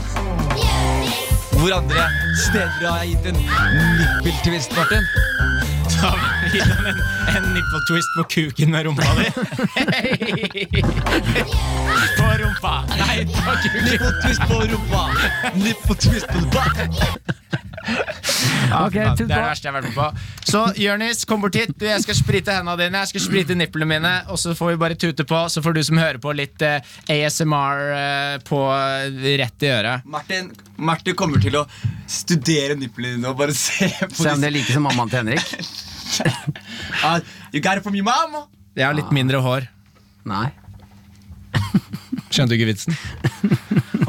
hvor andre steder har jeg gitt en nipple twist, Martin? Ta gi dem en, en nipple twist på kuken med rumpa di. på rumpa. Nei, på kuken. Nipple twist på rumpa! Nipple twist på rumpa! Ok, Ja, det tut er det på. verste jeg har vært med på. Så Jonis, kom bort hit. Du, Jeg skal sprite hendene dine, jeg skal sprite nipplene mine, og så får vi bare tute på. Så får du som hører på, litt eh, ASMR eh, på rett i øret. Martin, Martin kommer til å studere nipplene dine og bare se på Se om det disse. er like som mammaen til Henrik. Ah, you got it from your mom! Jeg har Ah. litt mindre hår. Nei. Skjønte du ikke vitsen?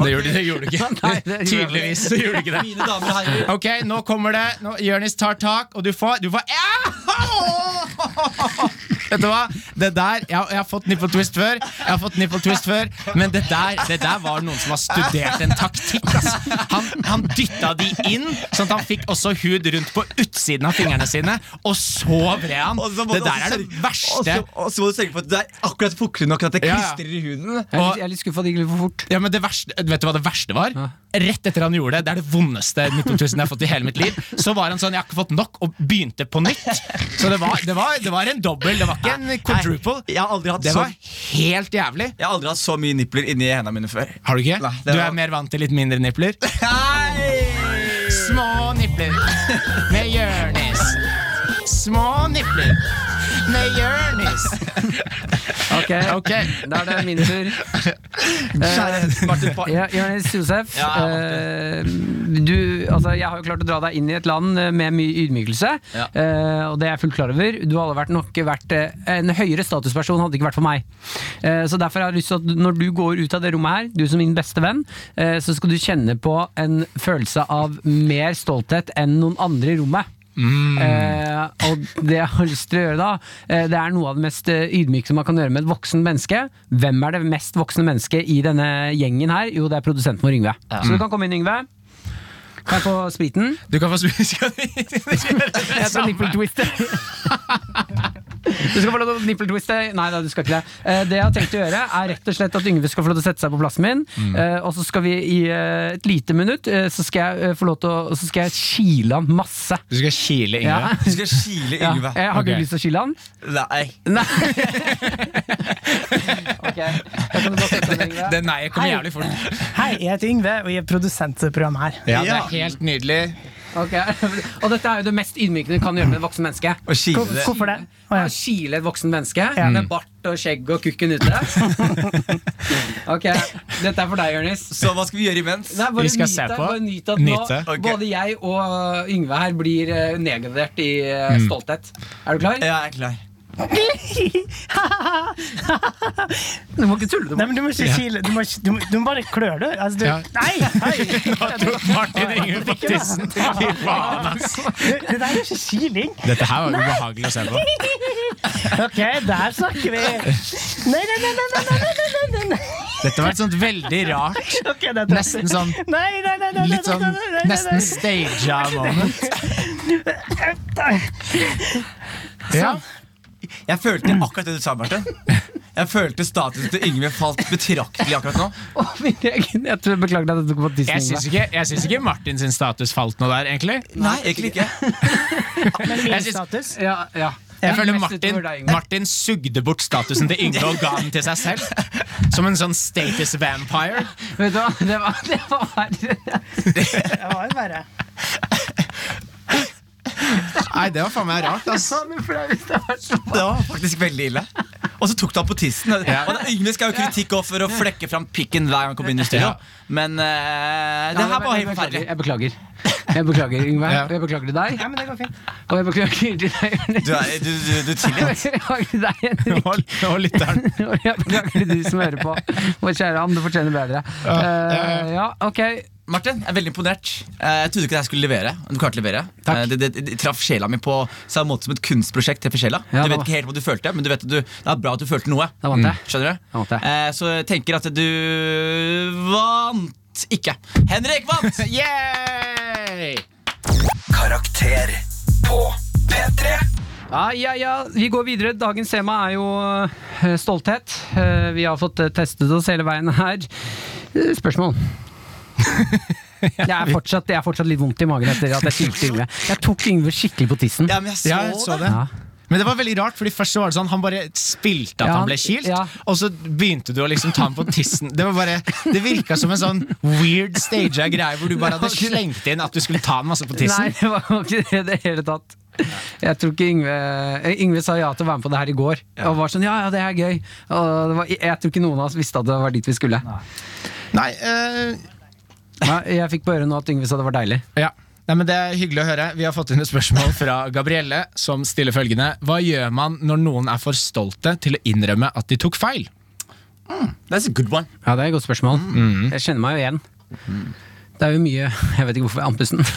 Det gjorde, det gjorde du ikke. Nei, det gjorde jeg ikke. Tydeligvis så gjorde du ikke det. Mine damer og herrer. Ok, nå kommer det. Nå, Jørnis tar tak, og du får, du får Au! Vet du hva? Det der, jeg, har- jeg har fått nipple twist før, Jeg har fått nipple twist før men det der, det der var noen som har studert en taktikk. ass. Han, han dytta de inn, sånn at han fikk også hud rundt på utsiden av fingrene sine, og så vred han. Og så må Det du der også er det sørge- Og verste. så, og så må du sørge for at det er akkurat fuktig nok at det Ja, ja. klistrer i huden. Jeg er litt, jeg er litt skuffa at det gikk litt for fort. Ja, men det verste, Vet du hva det verste var? Rett etter han gjorde det, det er det vondeste 19 000 jeg har fått i hele mitt liv, så var han sånn 'jeg har ikke fått nok', og begynte på nytt. Så det var, det var, det var en dobbel, det var ikke en quadruple. Jeg har aldri hatt, Det så, var helt jævlig. jeg har aldri hatt så mye nipler inni hendene mine før. Har du ikke? Nei, det Du var- er mer vant til litt mindre nipler? Hei! Små nipler med Jørnis. små nipler med Jonis. Ok, da er det min tur. Martin, Ja, Jonis Josef, Ja, eh, du, altså, jeg har jo klart å dra deg inn i et land eh, med mye ydmykelse, Ja. eh, og det er jeg fullt klar over. Du hadde vært nok vært eh, en høyere statusperson hadde det ikke vært for meg. Eh, så derfor har jeg lyst til at når du går ut av det rommet her, du som min beste venn, eh, så skal du kjenne på en følelse av mer stolthet enn noen andre i rommet. Eh, og det jeg har lyst til å gjøre da, eh, det er noe av det mest eh, ydmyke som man kan gjøre med et voksen menneske. Hvem er det mest voksne mennesket i denne gjengen her? Jo, det er produsenten vår, Yngve. Så du kan komme inn, Yngve. Kan jeg få spriten? du kan få spise. Jeg skal nippeltwiste. Du skal få lov til å nippeltwiste. Nei da, du skal ikke det. Eh, Det jeg har tenkt å gjøre, er rett og slett at Yngve skal få lov til å sette seg på plassen min. eh, Og så skal vi i eh, et lite minutt, eh, så skal jeg eh, få lov til å Så skal jeg kile han masse. Du skal kile Ingrid. Ja. Du skal kile Ja. Yngve. Eh, Har Ok. du lyst til å kile han? Nei. Nei. ok, da kan du bare sette deg ned. Det nei kommer jævlig fort. Hei, jeg heter Yngve, og jeg er produsent til programmet her. Ja, det er helt nydelig. Ok, Og dette er jo det mest ydmykende du kan gjøre med et voksen menneske. Og kile Hvor- det. Hvorfor det? Å, ja. Å kile et voksen menneske Ja. med bart og skjegg og kukken ute. ok, Dette er for deg, Jonis. Så hva skal vi gjøre imens? Nei, bare Vi skal nyt se deg, på. Bare nyt at Nyte. nå Ok. Både jeg og Yngve her blir eh, nedgradert i eh, stolthet. Er du klar? Jeg er klar. Du må ikke tulle. Du Nei, må. men du må ikke kile. Du må, ikke- du må, du må bare klør du. Altså, du Ja. Nei! hei! Martin Ingrid Baktisen. Fy faen, ass. Det det der er ikke kiling. Dette her var ubehagelig å se på. Ok, der snakker vi. Nei, nei, nei, nei, nei, nei, nei, nei, nei, nei. Dette var et sånt veldig rart, Ok, det er nesten sånn Nei, nei, nei, nei, nei, Litt sånn nei, nei, nei, nei. nesten staged moment. Ja. Jeg følte akkurat det du sa, Martin. Jeg følte statusen til Yngve falt betraktelig akkurat nå. Å, min egen. Jeg tror, beklager deg at du kom på Jeg syns tissen. Yngve. ikke, jeg syns ikke Martin sin status falt noe der, egentlig. Nei, egentlig ikke. Men min Jeg syns- status? Ja, ja. Jeg føler Mest Martin, utover deg, Yngve. Martin sugde bort statusen til Yngve og ga den til seg selv. Som en sånn status vampire. Vet du hva, det var, det var verre. Det var jo verre. Nei, det var faen meg rart, ass. Det var faktisk veldig ille. Og så tok du ham på tissen. Og det- Yngve skal jo kritikk også for å flekke fram pikken hver gang han kommer inn i studio. Ja. Men eh, det her var helt forferdelig. Jeg beklager. Jeg beklager, Yngve. Ja. Og jeg beklager til deg. Ja, men det går fint. Og jeg beklager til deg, Jonis. Du, er- du, du, du Jeg tilgir meg. beklager til deg, Henrik. Og, og lytteren. Og jeg beklager til du som hører på. Vår kjære han, du fortjener bedre. ja, Eh, ja, ok. Martin, jeg er veldig imponert. Eh, Jeg trodde ikke det her skulle levere. Du klarte å levere. Takk. Eh, Det, det, det traff sjela mi på samme måte som et kunstprosjekt treffer sjela. Ja, du det vet var- ikke helt hva du følte, men du vet at du, det er bra at du følte noe. Mm. Da vant jeg. Skjønner du? Da vant jeg. Eh, Så jeg tenker at du vant ikke. Henrik vant! Yay! Karakter på P3. Ja, ja, ja, vi går videre. Dagens tema er jo eh, stolthet. Eh, Vi har fått eh, testet oss hele veien her. Eh, Spørsmål. Jeg er, fortsatt, jeg er fortsatt litt vondt i magen etter at jeg kilte Yngve. Jeg tok Yngve skikkelig på tissen. Ja, men jeg så, Ja, jeg så det. det. Ja. Men det var veldig rart, fordi først så var det sånn han bare spilte at Ja, han ble kilt, ja. og så begynte du å liksom ta ham på tissen. Det var bare, det virka som en sånn weird staged greie hvor du bare hadde slengt inn at du skulle ta ham masse på Nei, tissen. det var jo ikke det i det hele tatt. Jeg tror ikke Yngve eh, Yngve sa ja til å være med på det her i går. Og var sånn, ja, ja, det er gøy og det var, Jeg tror ikke noen av oss visste at det var dit vi skulle. Nei, eh, Ja, jeg fikk på øret nå at Yngve sa det var deilig. ja. Nei, men Det er hyggelig å høre. Vi har fått inn et spørsmål fra Gabrielle, som stiller følgende Hva gjør man når noen er for stolte til å innrømme at de tok feil? That's a good one. Ja, det er et godt spørsmål. Mm. Jeg kjenner meg jo igjen. Det er jo mye Jeg vet ikke hvorfor jeg er andpusten.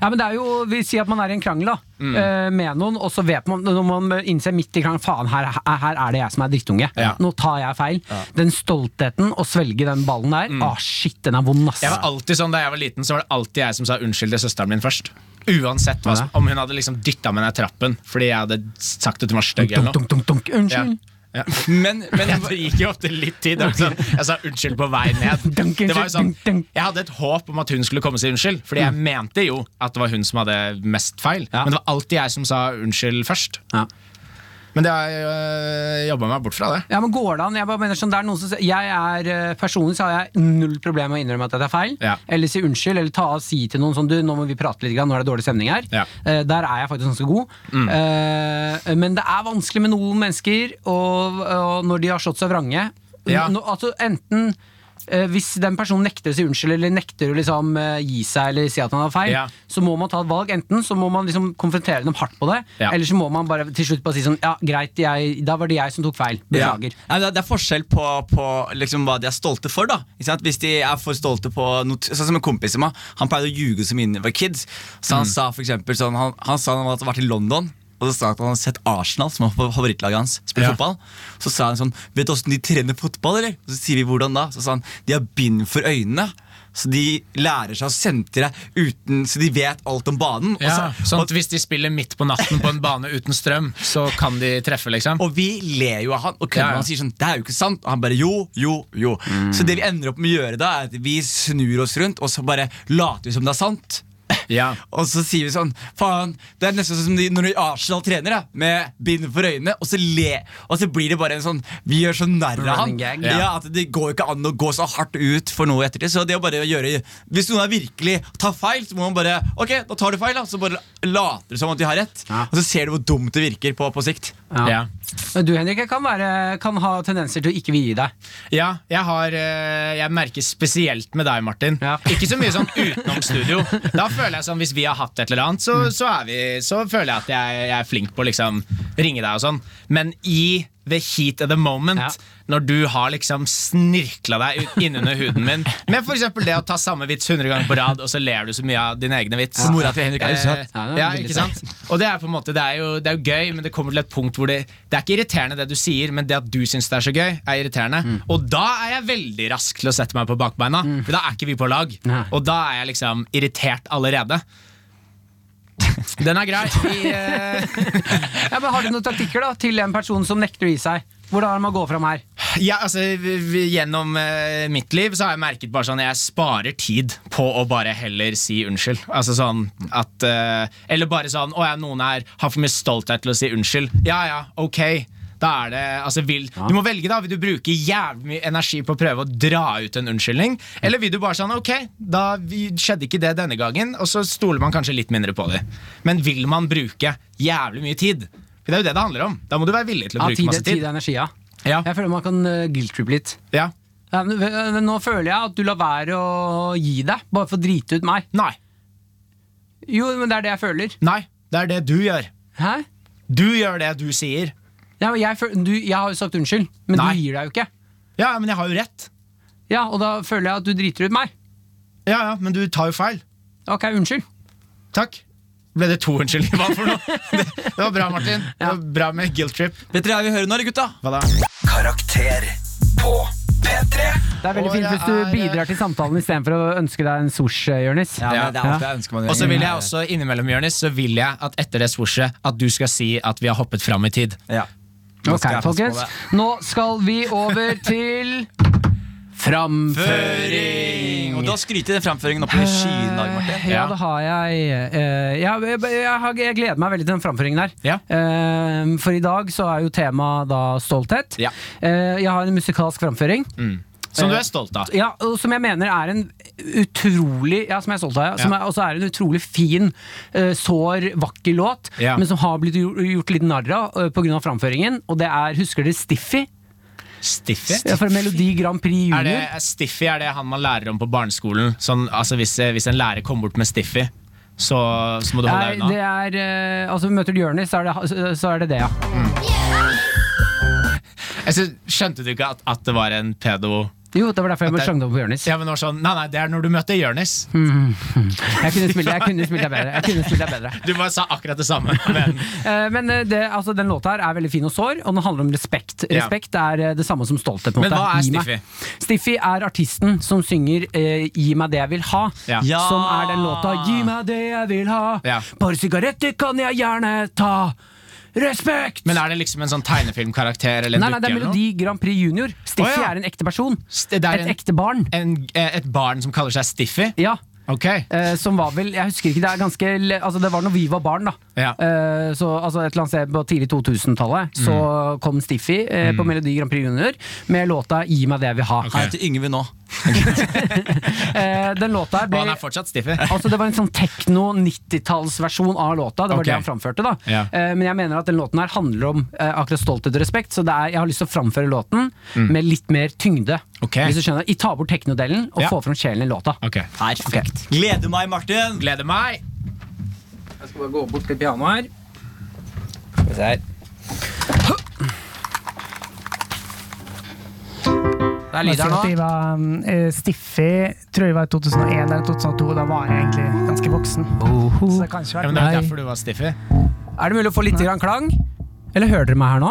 ja, men det er jo Vi sier at man er i en krangel da Mm. eh, med noen, og så vet man når man innser midt i krangelen Faen, her, her er det jeg som er drittunge. Ja. Nå tar jeg feil. Den stoltheten, å svelge den ballen der Ah, shit, den er vond, ass. Mm. Jeg var alltid sånn Da jeg var liten, så var det alltid jeg som sa unnskyld til søsteren min først. Uansett hva som, om hun hadde liksom dytta meg ned trappen fordi jeg hadde sagt at hun var stygg. eller Dunk, noe. dunk, dunk, dunk. Ja. Unnskyld. Ja. Men, men Det gikk jo ofte litt tid. da. Sånn, jeg sa unnskyld på vei ned. Dunk, Det var jo sånn, unnskyld, dunk, dunk. jeg hadde et håp om at hun skulle komme og si unnskyld, Fordi jeg mente jo at det var hun som hadde mest feil. Ja. Men det var alltid jeg som sa unnskyld først. Ja. Men det har jeg øh, jobba meg bort fra, det. Ja, men går det an? Jeg bare mener sånn, det er noen som Jeg er eh, personlig så har jeg null problem med å innrømme at det er feil. Ja. Eller si unnskyld, eller ta og si til noen sånn Du, nå må vi prate litt, grann, nå er det dårlig stemning her. Ja. Mm. Eh, der er jeg faktisk ganske god. Eh, men det er vanskelig med noen mennesker, og, og når de har slått seg vrange Ja. nå, Altså enten eh, hvis den personen nekter å si unnskyld eller nekter å liksom eh, gi seg eller si at han har feil, Ja. så må man ta et valg. Enten så må man liksom konfrontere dem hardt på det, Ja. eller så må man bare til slutt bare si sånn Ja, greit, jeg, da var det jeg som tok feil. Beklager. Nei, men det er- det er forskjell på, på liksom hva de er stolte for. da ikke sant? Hvis de er for stolte på noe t- Sånn som en kompis av meg. Han pleide å ljuge så mye da vi var kids. Så Mm. Han sa for eksempel, sånn, han, han sa han hadde vært i London. Og så sa han at han hadde sett Arsenal, som var favorittlaget hans, spille Ja. fotball. Så sa han sånn Vet du åssen de trener fotball, eller? Og så sier vi hvordan da? Så sa han de har bind for øynene. Så de lærer seg å sentre uten Så de vet alt om banen. Og Ja, så, sånn at Hvis de spiller midt på natten på en bane uten strøm, så kan de treffe, liksom. Og vi ler jo av han og kødder Ja, ja. med han og sier sånn Det er jo ikke sant. Og han bare jo, jo, jo. Så det vi ender opp med å gjøre da, er at vi snur oss rundt, og så bare later vi som det er sant. Ja. Og så sier vi sånn Faen, det er nesten som de, når de Arsenal trener, da, med bind for øynene, og så le. Og så blir det bare en sånn Vi gjør sånn narr av han. Running gag. Ja, at Det går ikke an å gå så hardt ut for noe ettertid. Så det å bare gjøre Hvis noen er virkelig tar feil, så må man bare Ok, da tar du feil, da. Så bare later du som at de har rett. Ja. Og så ser du hvor dumt det virker på, på sikt. Ja. Ja. Men du Henrik, jeg kan, være, kan ha tendenser til å ikke vie deg. Ja, jeg, har, eh, jeg merker spesielt med deg, Martin. Ja. Ikke så mye sånn utenom studio. Da føler jeg sånn, Hvis vi har hatt et eller annet, så, Mm. så, er vi, så føler jeg at jeg, jeg er flink på å liksom ringe deg og sånn. Men i the heat of the moment, Ja. når du har liksom snirkla deg ut innunder huden min med f.eks. det å ta samme vits 100 ganger på rad, og så ler du så mye av din egne vits. Eh, Mora til Henrik er jo søt. Ja, det er ja, veldig ikke sant? Og det er på en måte, det er, jo, det er jo gøy, men det kommer til et punkt hvor det, det er ikke irriterende det du sier, men det at du syns det er så gøy, er irriterende. Og da er jeg veldig rask til å sette meg på bakbeina, for da er ikke vi på lag. Nei. Og da er jeg liksom irritert allerede. Den er grei. Vi, eh, Ja, men har du noen taktikker da, til en person som nekter å gi seg? Hvordan er det man går fram her? ja, altså, vi- vi- gjennom eh, mitt liv så har jeg merket bare sånn jeg sparer tid på å bare heller si unnskyld. Altså sånn at eh, Eller bare sånn Å ja, noen her har for mye stolthet til å si unnskyld. Ja ja, ok. Da er det, altså vil, Du må velge, da. Vil du bruke jævlig mye energi på å prøve å dra ut en unnskyldning? Eller vil du bare sånn Ok, da vi, skjedde ikke det denne gangen, og så stoler man kanskje litt mindre på det. Men vil man bruke jævlig mye tid? For det er jo det det handler om. Da må du være villig til å Ja, bruke tid, masse tid tid. og energi, ja. Ja. Jeg føler man kan uh, guilt-trippe litt. Ja. Ja, men, øh, nå føler jeg at du lar være å gi deg, bare for å drite ut meg. Nei. Jo, men det er det jeg føler. Nei, det er det du gjør. Hæ? Du gjør det du sier. Ja, men jeg, føl- du, jeg har jo sagt unnskyld, men Nei. du gir deg jo ikke. Ja, ja, men jeg har jo rett. Ja, Og da føler jeg at du driter ut meg. Ja, ja, men du tar jo feil. Ok, unnskyld. Takk. Ble det to unnskyldninger? Hva for noe? Det, det var bra, Martin. Det var bra med guilt trip. Vet dere hva vi hører nå, eller gutta? Hva da? Karakter på P3. Det er veldig Og fint jeg hvis du er, øh, bidrar til samtalen istedenfor å ønske deg en sosh, Jonis. Ja. men det er alt jeg ønsker meg. Og så vil jeg også innimellom, Jørnis, så vil jeg at etter det swooshet at du skal si at vi har hoppet fram i tid. Ja. Nå Ok, skal jeg passe på folkens. Nå skal vi over til Føring! Framføring. Og du har skrytt i den framføringen oppe i skyen i dag, Martin. Ja, Ja. det har jeg. Eh, Jeg, jeg, jeg, har- jeg gleder meg veldig til den framføringen her. Ja. Eh, For i dag så er jo temaet da stolthet. Ja. Mm. Eh, Jeg har en musikalsk framføring. Som du er stolt av. Ja, og som jeg mener er en utrolig Ja, som jeg er stolt av, ja. Som Ja. er, også er en utrolig fin, eh, sår, vakker låt, Ja. men som har blitt gjort, gjort litt narr av eh, på grunn av framføringen. Og det er, husker dere Stiffy? Stiffy. Ja, fra Melodi Grand Prix Junior. Er det, er stiffy er det han man lærer om på barneskolen. Sånn, altså hvis, hvis en lærer kommer bort med Stiffy, så, så må du holde Nei, deg unna. det er eh, Altså, møter du Jonis, så, er det- så- så er det det, ja. Jeg synes, skjønte du ikke at, at det var en pedo... Jo, det var derfor jeg At ble det- slangt opp på Jonis. Ja, men det var sånn, nei, nei, det er når du møter Jørnis. Jeg kunne spilt jeg kunne spilt deg bedre. Mm. Jeg kunne spilt deg bedre. Du bare sa akkurat det samme. Men, Eh, Men eh, det, altså, den låta her er veldig fin og sår, og den handler om respekt. Ja. Respekt er eh, det samme som stolthet. på en Men måte. hva er Gi meg- Stiffy er artisten som synger eh, 'Gi meg det jeg vil ha', Ja. Ja. som er den låta 'Gi meg det jeg vil ha', Ja. bare sigaretter kan jeg gjerne ta. Respekt! men er det liksom en sånn tegnefilmkarakter eller en Nei, nei, det dukke? er eller noe? Melodi Grand Prix Junior. Stiffy Å, ja. er en ekte person. St- Det er Et en, ekte barn. en, eh, et barn som kaller seg Stiffy? Ja Ok. Eh, som var vel, jeg husker ikke, Det er ganske, le- altså det var når vi var barn, da. Ja. Eh, så altså Et eller annet sted på tidlig 2000-tallet Så Mm. kom Stiffy eh, på Melodi Grand Prix Junior med låta 'Gi meg det jeg vil ha'. Ok. Han heter Yngve nå. Eh, den låta her Og ble han er fortsatt stiffy. Altså Det var en sånn tekno-90-tallsversjon av låta. Det var Ok. det han framførte. da Ja. Eh, Men jeg mener at den låten her handler om eh, akkurat stolthet og respekt, så det er, jeg har lyst til å framføre låten med litt mer tyngde. Mm. Ok. Hvis du skjønner I Ta bort teknodelen og Ja. få fram sjelen i låta. Ok. Perfekt. Gleder meg, Martin. Gleder meg! Jeg skal bare gå bort til pianoet her. Det er lyd her nå. Jeg var eh, Stiffy tror jeg var i 2001 eller 2002. Da var jeg egentlig ganske voksen. Så det kan ikke Ja, være men det er Nei. derfor du var stiffy. Er det mulig å få litt grann klang? Eller hører dere meg her nå?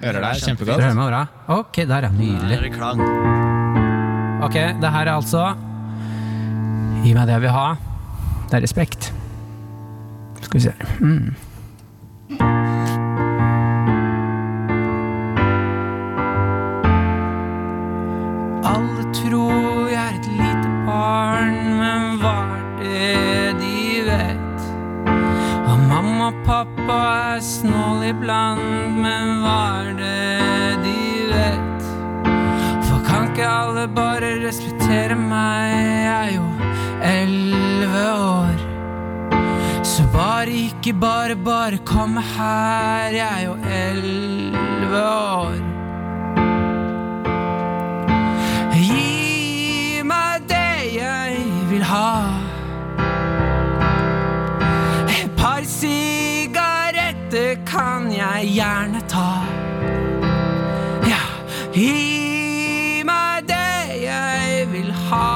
Hører deg Dere kjempegodt. hører meg bra? Ok, der, ja. Nydelig. Det er klang. Ok, det her er altså Gi meg det jeg vil ha. Det er respekt. Skal vi se her. mm. Alle tror jeg er et lite barn, men hva er det de vet? Og mamma og pappa er snål iblant, men hva er det de vet? For kan ikke alle bare respektere meg? Jeg er jo elleve år. Så bare ikke bare, bare komme her. Jeg er jo elleve år. Gi meg det jeg vil ha. Et par sigaretter kan jeg gjerne ta. Ja, gi meg det jeg vil ha.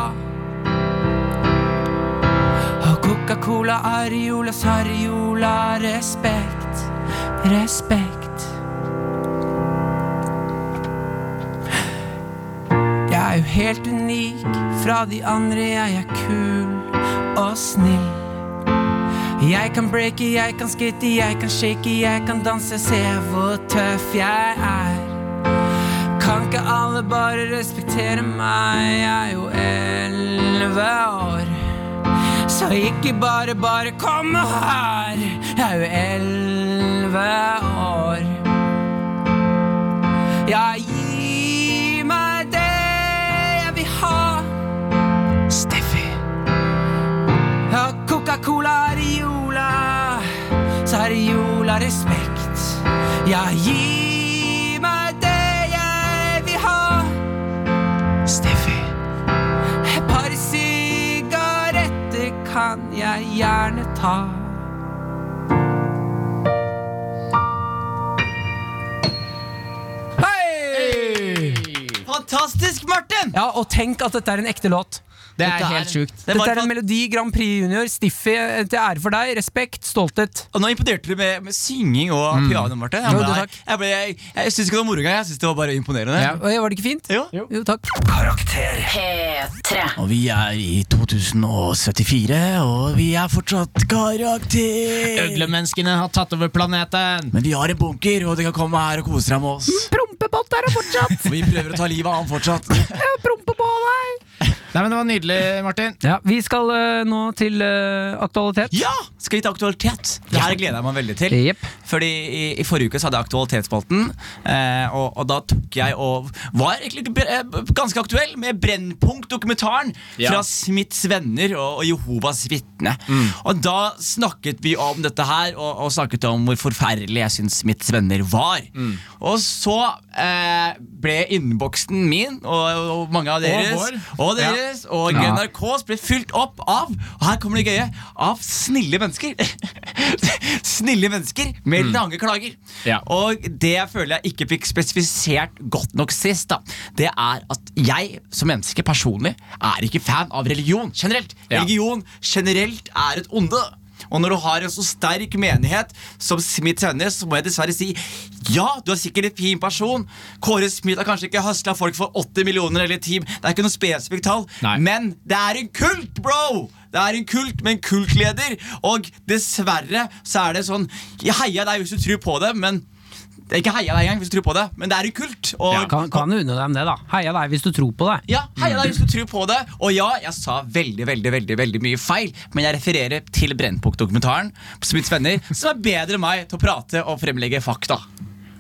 Og Coca-Cola, Ariolas, Ariola, respekt, respekt. Jeg er jo helt unik fra de andre, jeg er kul og snill. Jeg kan breake, jeg kan skate, jeg kan shake, jeg kan danse, se hvor tøff jeg er. Kan ikke alle bare respektere meg? Jeg er jo elleve år. Så ikke bare, bare komme her. Jeg er jo elleve år. Ja, gi meg det jeg vil ha. Steffi. Ja, Coca-Cola, Ariola. Så Ariola, respekt. Ja, gi meg det jeg vil ha. Steffi. Et par sigaretter kan jeg gjerne ta. Hei! Fantastisk, Martin! Ja, og tenk at dette er en ekte låt. Det er Dette er- helt sjukt. Det var Dette er en fan- melodi Grand Prix Junior, Stiffy, eh, til ære for deg. Respekt, stolthet. Og nå imponerte du med, med synging og piano, Martin. Jeg, Mm. Jo, ble, det jeg, takk. jeg, ble, jeg, jeg syns ikke det var moro engang. Jeg syns det var bare imponerende. Ja. Oi, Var det ikke fint? Jo. Jo, takk. Karakter. P3. Og vi er i 2074, og vi er fortsatt karakter. Øglemenneskene har tatt over planeten. Men vi har en bunker, og de kan komme her og kose seg med oss. Prompebåt er det fortsatt! Og vi prøver å ta livet av ham fortsatt. Nei, men Det var nydelig, Martin. Ja, Vi skal eh, nå til eh, aktualitet. Ja! Skal vi ta aktualitet? Det her gleder jeg meg veldig til. Jepp. Fordi i, i forrige uke så hadde jeg Aktualitetsspalten, eh, og, og da tok jeg og var egentlig b- eh, b- ganske aktuell med Brennpunkt-dokumentaren Ja. fra Smiths venner og, og Jehovas vitne. Og da snakket vi om dette her, og, og snakket om hvor forferdelig jeg syns Smiths venner var. Og så eh, ble innboksen min og, og mange av deres vår. og deres og NRKs ble fylt opp av Og her kommer det gøye Av snille mennesker Snille mennesker med lange klager Mm. Ja. Og det jeg føler jeg ikke fikk spesifisert godt nok sist da Det er at jeg som menneske personlig Er ikke fan av religion generelt Ja. Religion generelt er et onde og når du har en så sterk menighet som Smith Tønnes, så må jeg dessverre si ja, du er sikkert en fin person. Kåre Smith har kanskje ikke høsla folk for 80 millioner eller 10 Det er ikke noe spesifikt tall, Nei. men det er en kult, bro! Det er en kult med en kultleder, og dessverre så er det sånn Jeg heia deg hvis du tror på det, men Det er ikke heia deg engang, hvis du tror på det, men det er en kult. Og, Ja. Kan, kan du unne dem det, da? Heia deg hvis du tror på det. Ja, heia Mm. deg hvis du tror på det. Og ja, jeg sa veldig veldig, veldig, veldig mye feil, men jeg refererer til Brennpunkt-dokumentaren på Smiths venner, som er bedre enn meg til å prate og fremlegge fakta.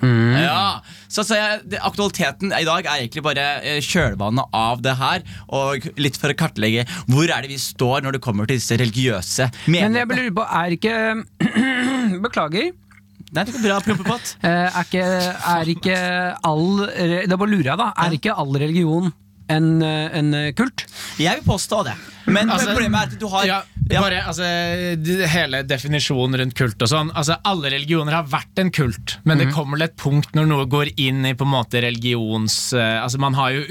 Mm. Ja, så, så jeg, det, Aktualiteten i dag er egentlig bare eh, kjølvannet av det her. Og litt for å kartlegge hvor er det vi står når det kommer til disse religiøse Men jeg meningene. lurer på, er ikke Beklager. Nei, det går bra, prompepott. Eh, Er ikke, er ikke all re- Da bare lurer jeg, da. Er ikke all religion en, eh, en eh, kult? Jeg vil påstå det. Men Altså, problemet er at du har ja, Ja. bare, altså, d- hele definisjonen rundt kult og sånn altså, Alle religioner har vært en kult, men Mhm. det kommer til et punkt når noe går inn i på en måte religions... eh, altså, man har jo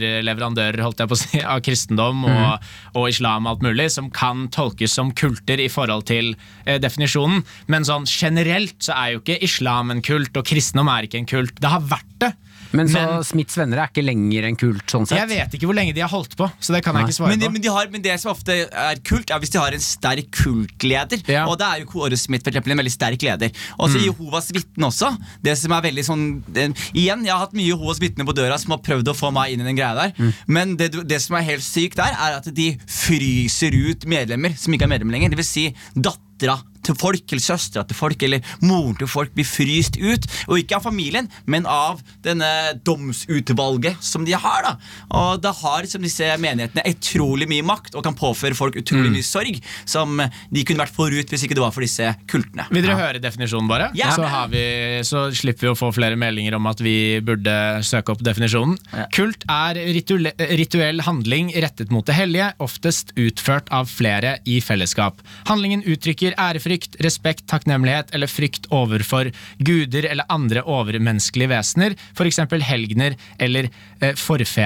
underleverandører holdt jeg på å si, av kristendom og, Mhm. og islam og alt mulig, som kan tolkes som kulter i forhold til eh, definisjonen. Men sånn generelt så er jo ikke islam en kult, og kristendom er ikke en kult. Det har vært det. Men så Men- Smiths venner er ikke lenger en kult, sånn sett? Jeg vet ikke hvor lenge de har holdt på, så det kan Nei. jeg ikke svare men, de, på. men, de har, men det som ofte er kult, er hvis de har en sterk kultleder. Ja. Og det er jo Kåre Smith, for eksempel, en veldig sterk leder. Og så Jehovas vitne også. Det som er veldig sånn eh, Igjen, jeg har hatt mye Jehovas vitner på døra som har prøvd å få meg inn i den greia der. Men det, du- det som er helt sykt der, er at de fryser ut medlemmer som ikke er medlemmer lenger. Det vil si dattera til folk, eller søstera til folk, eller moren til folk blir fryst ut. Og ikke av familien, men av denne domsutvalget som de har. da Og da har liksom disse menighetene utrolig mye makt og kan påføre folk Mm. utrolig mye sorg som de kunne vært forut hvis ikke det var for disse kultene. Vil dere høre definisjonen, bare? Ja. Så, har vi, så slipper vi å få flere meldinger om at vi burde søke opp definisjonen. Kult er rituell, rituell handling rettet mot det hellige, oftest utført av flere i fellesskap. Handlingen uttrykker ærefrykt, respekt, takknemlighet eller frykt overfor guder eller andre overmenneskelige vesener, f.eks. helgener eller eh,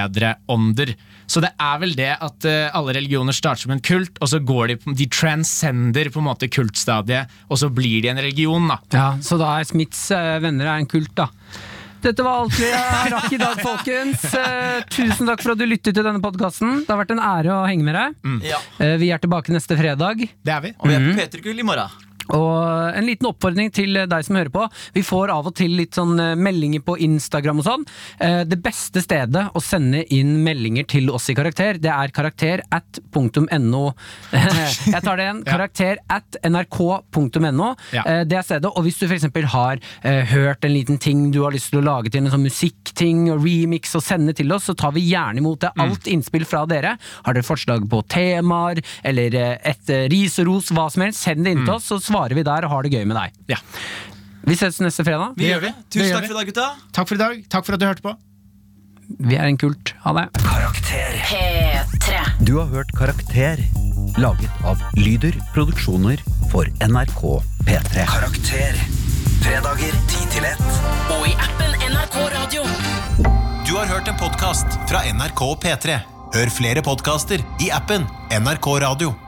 forfedreånder. Så det er vel det at eh, alle religioner starter som en kult, og så går de, på- de transcender på en måte kultstadiet, og så blir de en religion, da. Ja, Så da er Smiths eh, venner er en kult, da. Dette var alt vi eh, rakk i dag, folkens. Eh, Tusen takk for at du lyttet til denne podkasten. Det har vært en ære å henge med deg. Ja. Eh, Vi er tilbake neste fredag. Det er vi. Og vi er på Petergull i morgen. Og en liten oppfordring til deg som hører på. Vi får av og til litt sånn eh, meldinger på Instagram og sånn. Eh, Det beste stedet å sende inn meldinger til oss i karakter, det er karakter at punktum no. Jeg tar det igjen. Karakter at nrk.no. Ja. Eh, Det er stedet. Og hvis du f.eks. har eh, hørt en liten ting du har lyst til å lage til en sånn musikkting og remix og sende til oss, så tar vi gjerne imot det. Alt innspill fra dere. Har dere forslag på temaer eller eh, et eh, ris og ros, hva som helst, send det inn til oss, så svarer vi der og har det gøy med deg. Ja. Vi ses neste fredag. Vi Det gjør gjør det. vi. Det Tusen gjør takk vi. for i dag, gutta. Takk for i dag. Takk for at du hørte på. Vi er en kult. Ha det. Karakter. P3. Du har hørt Karakter, laget av Lyder Produksjoner for NRK P3. Karakter. Fredager 10 til 1. Og i appen NRK Radio. Du har hørt en podcast fra NRK P3. Hør flere podcaster i appen NRK Radio.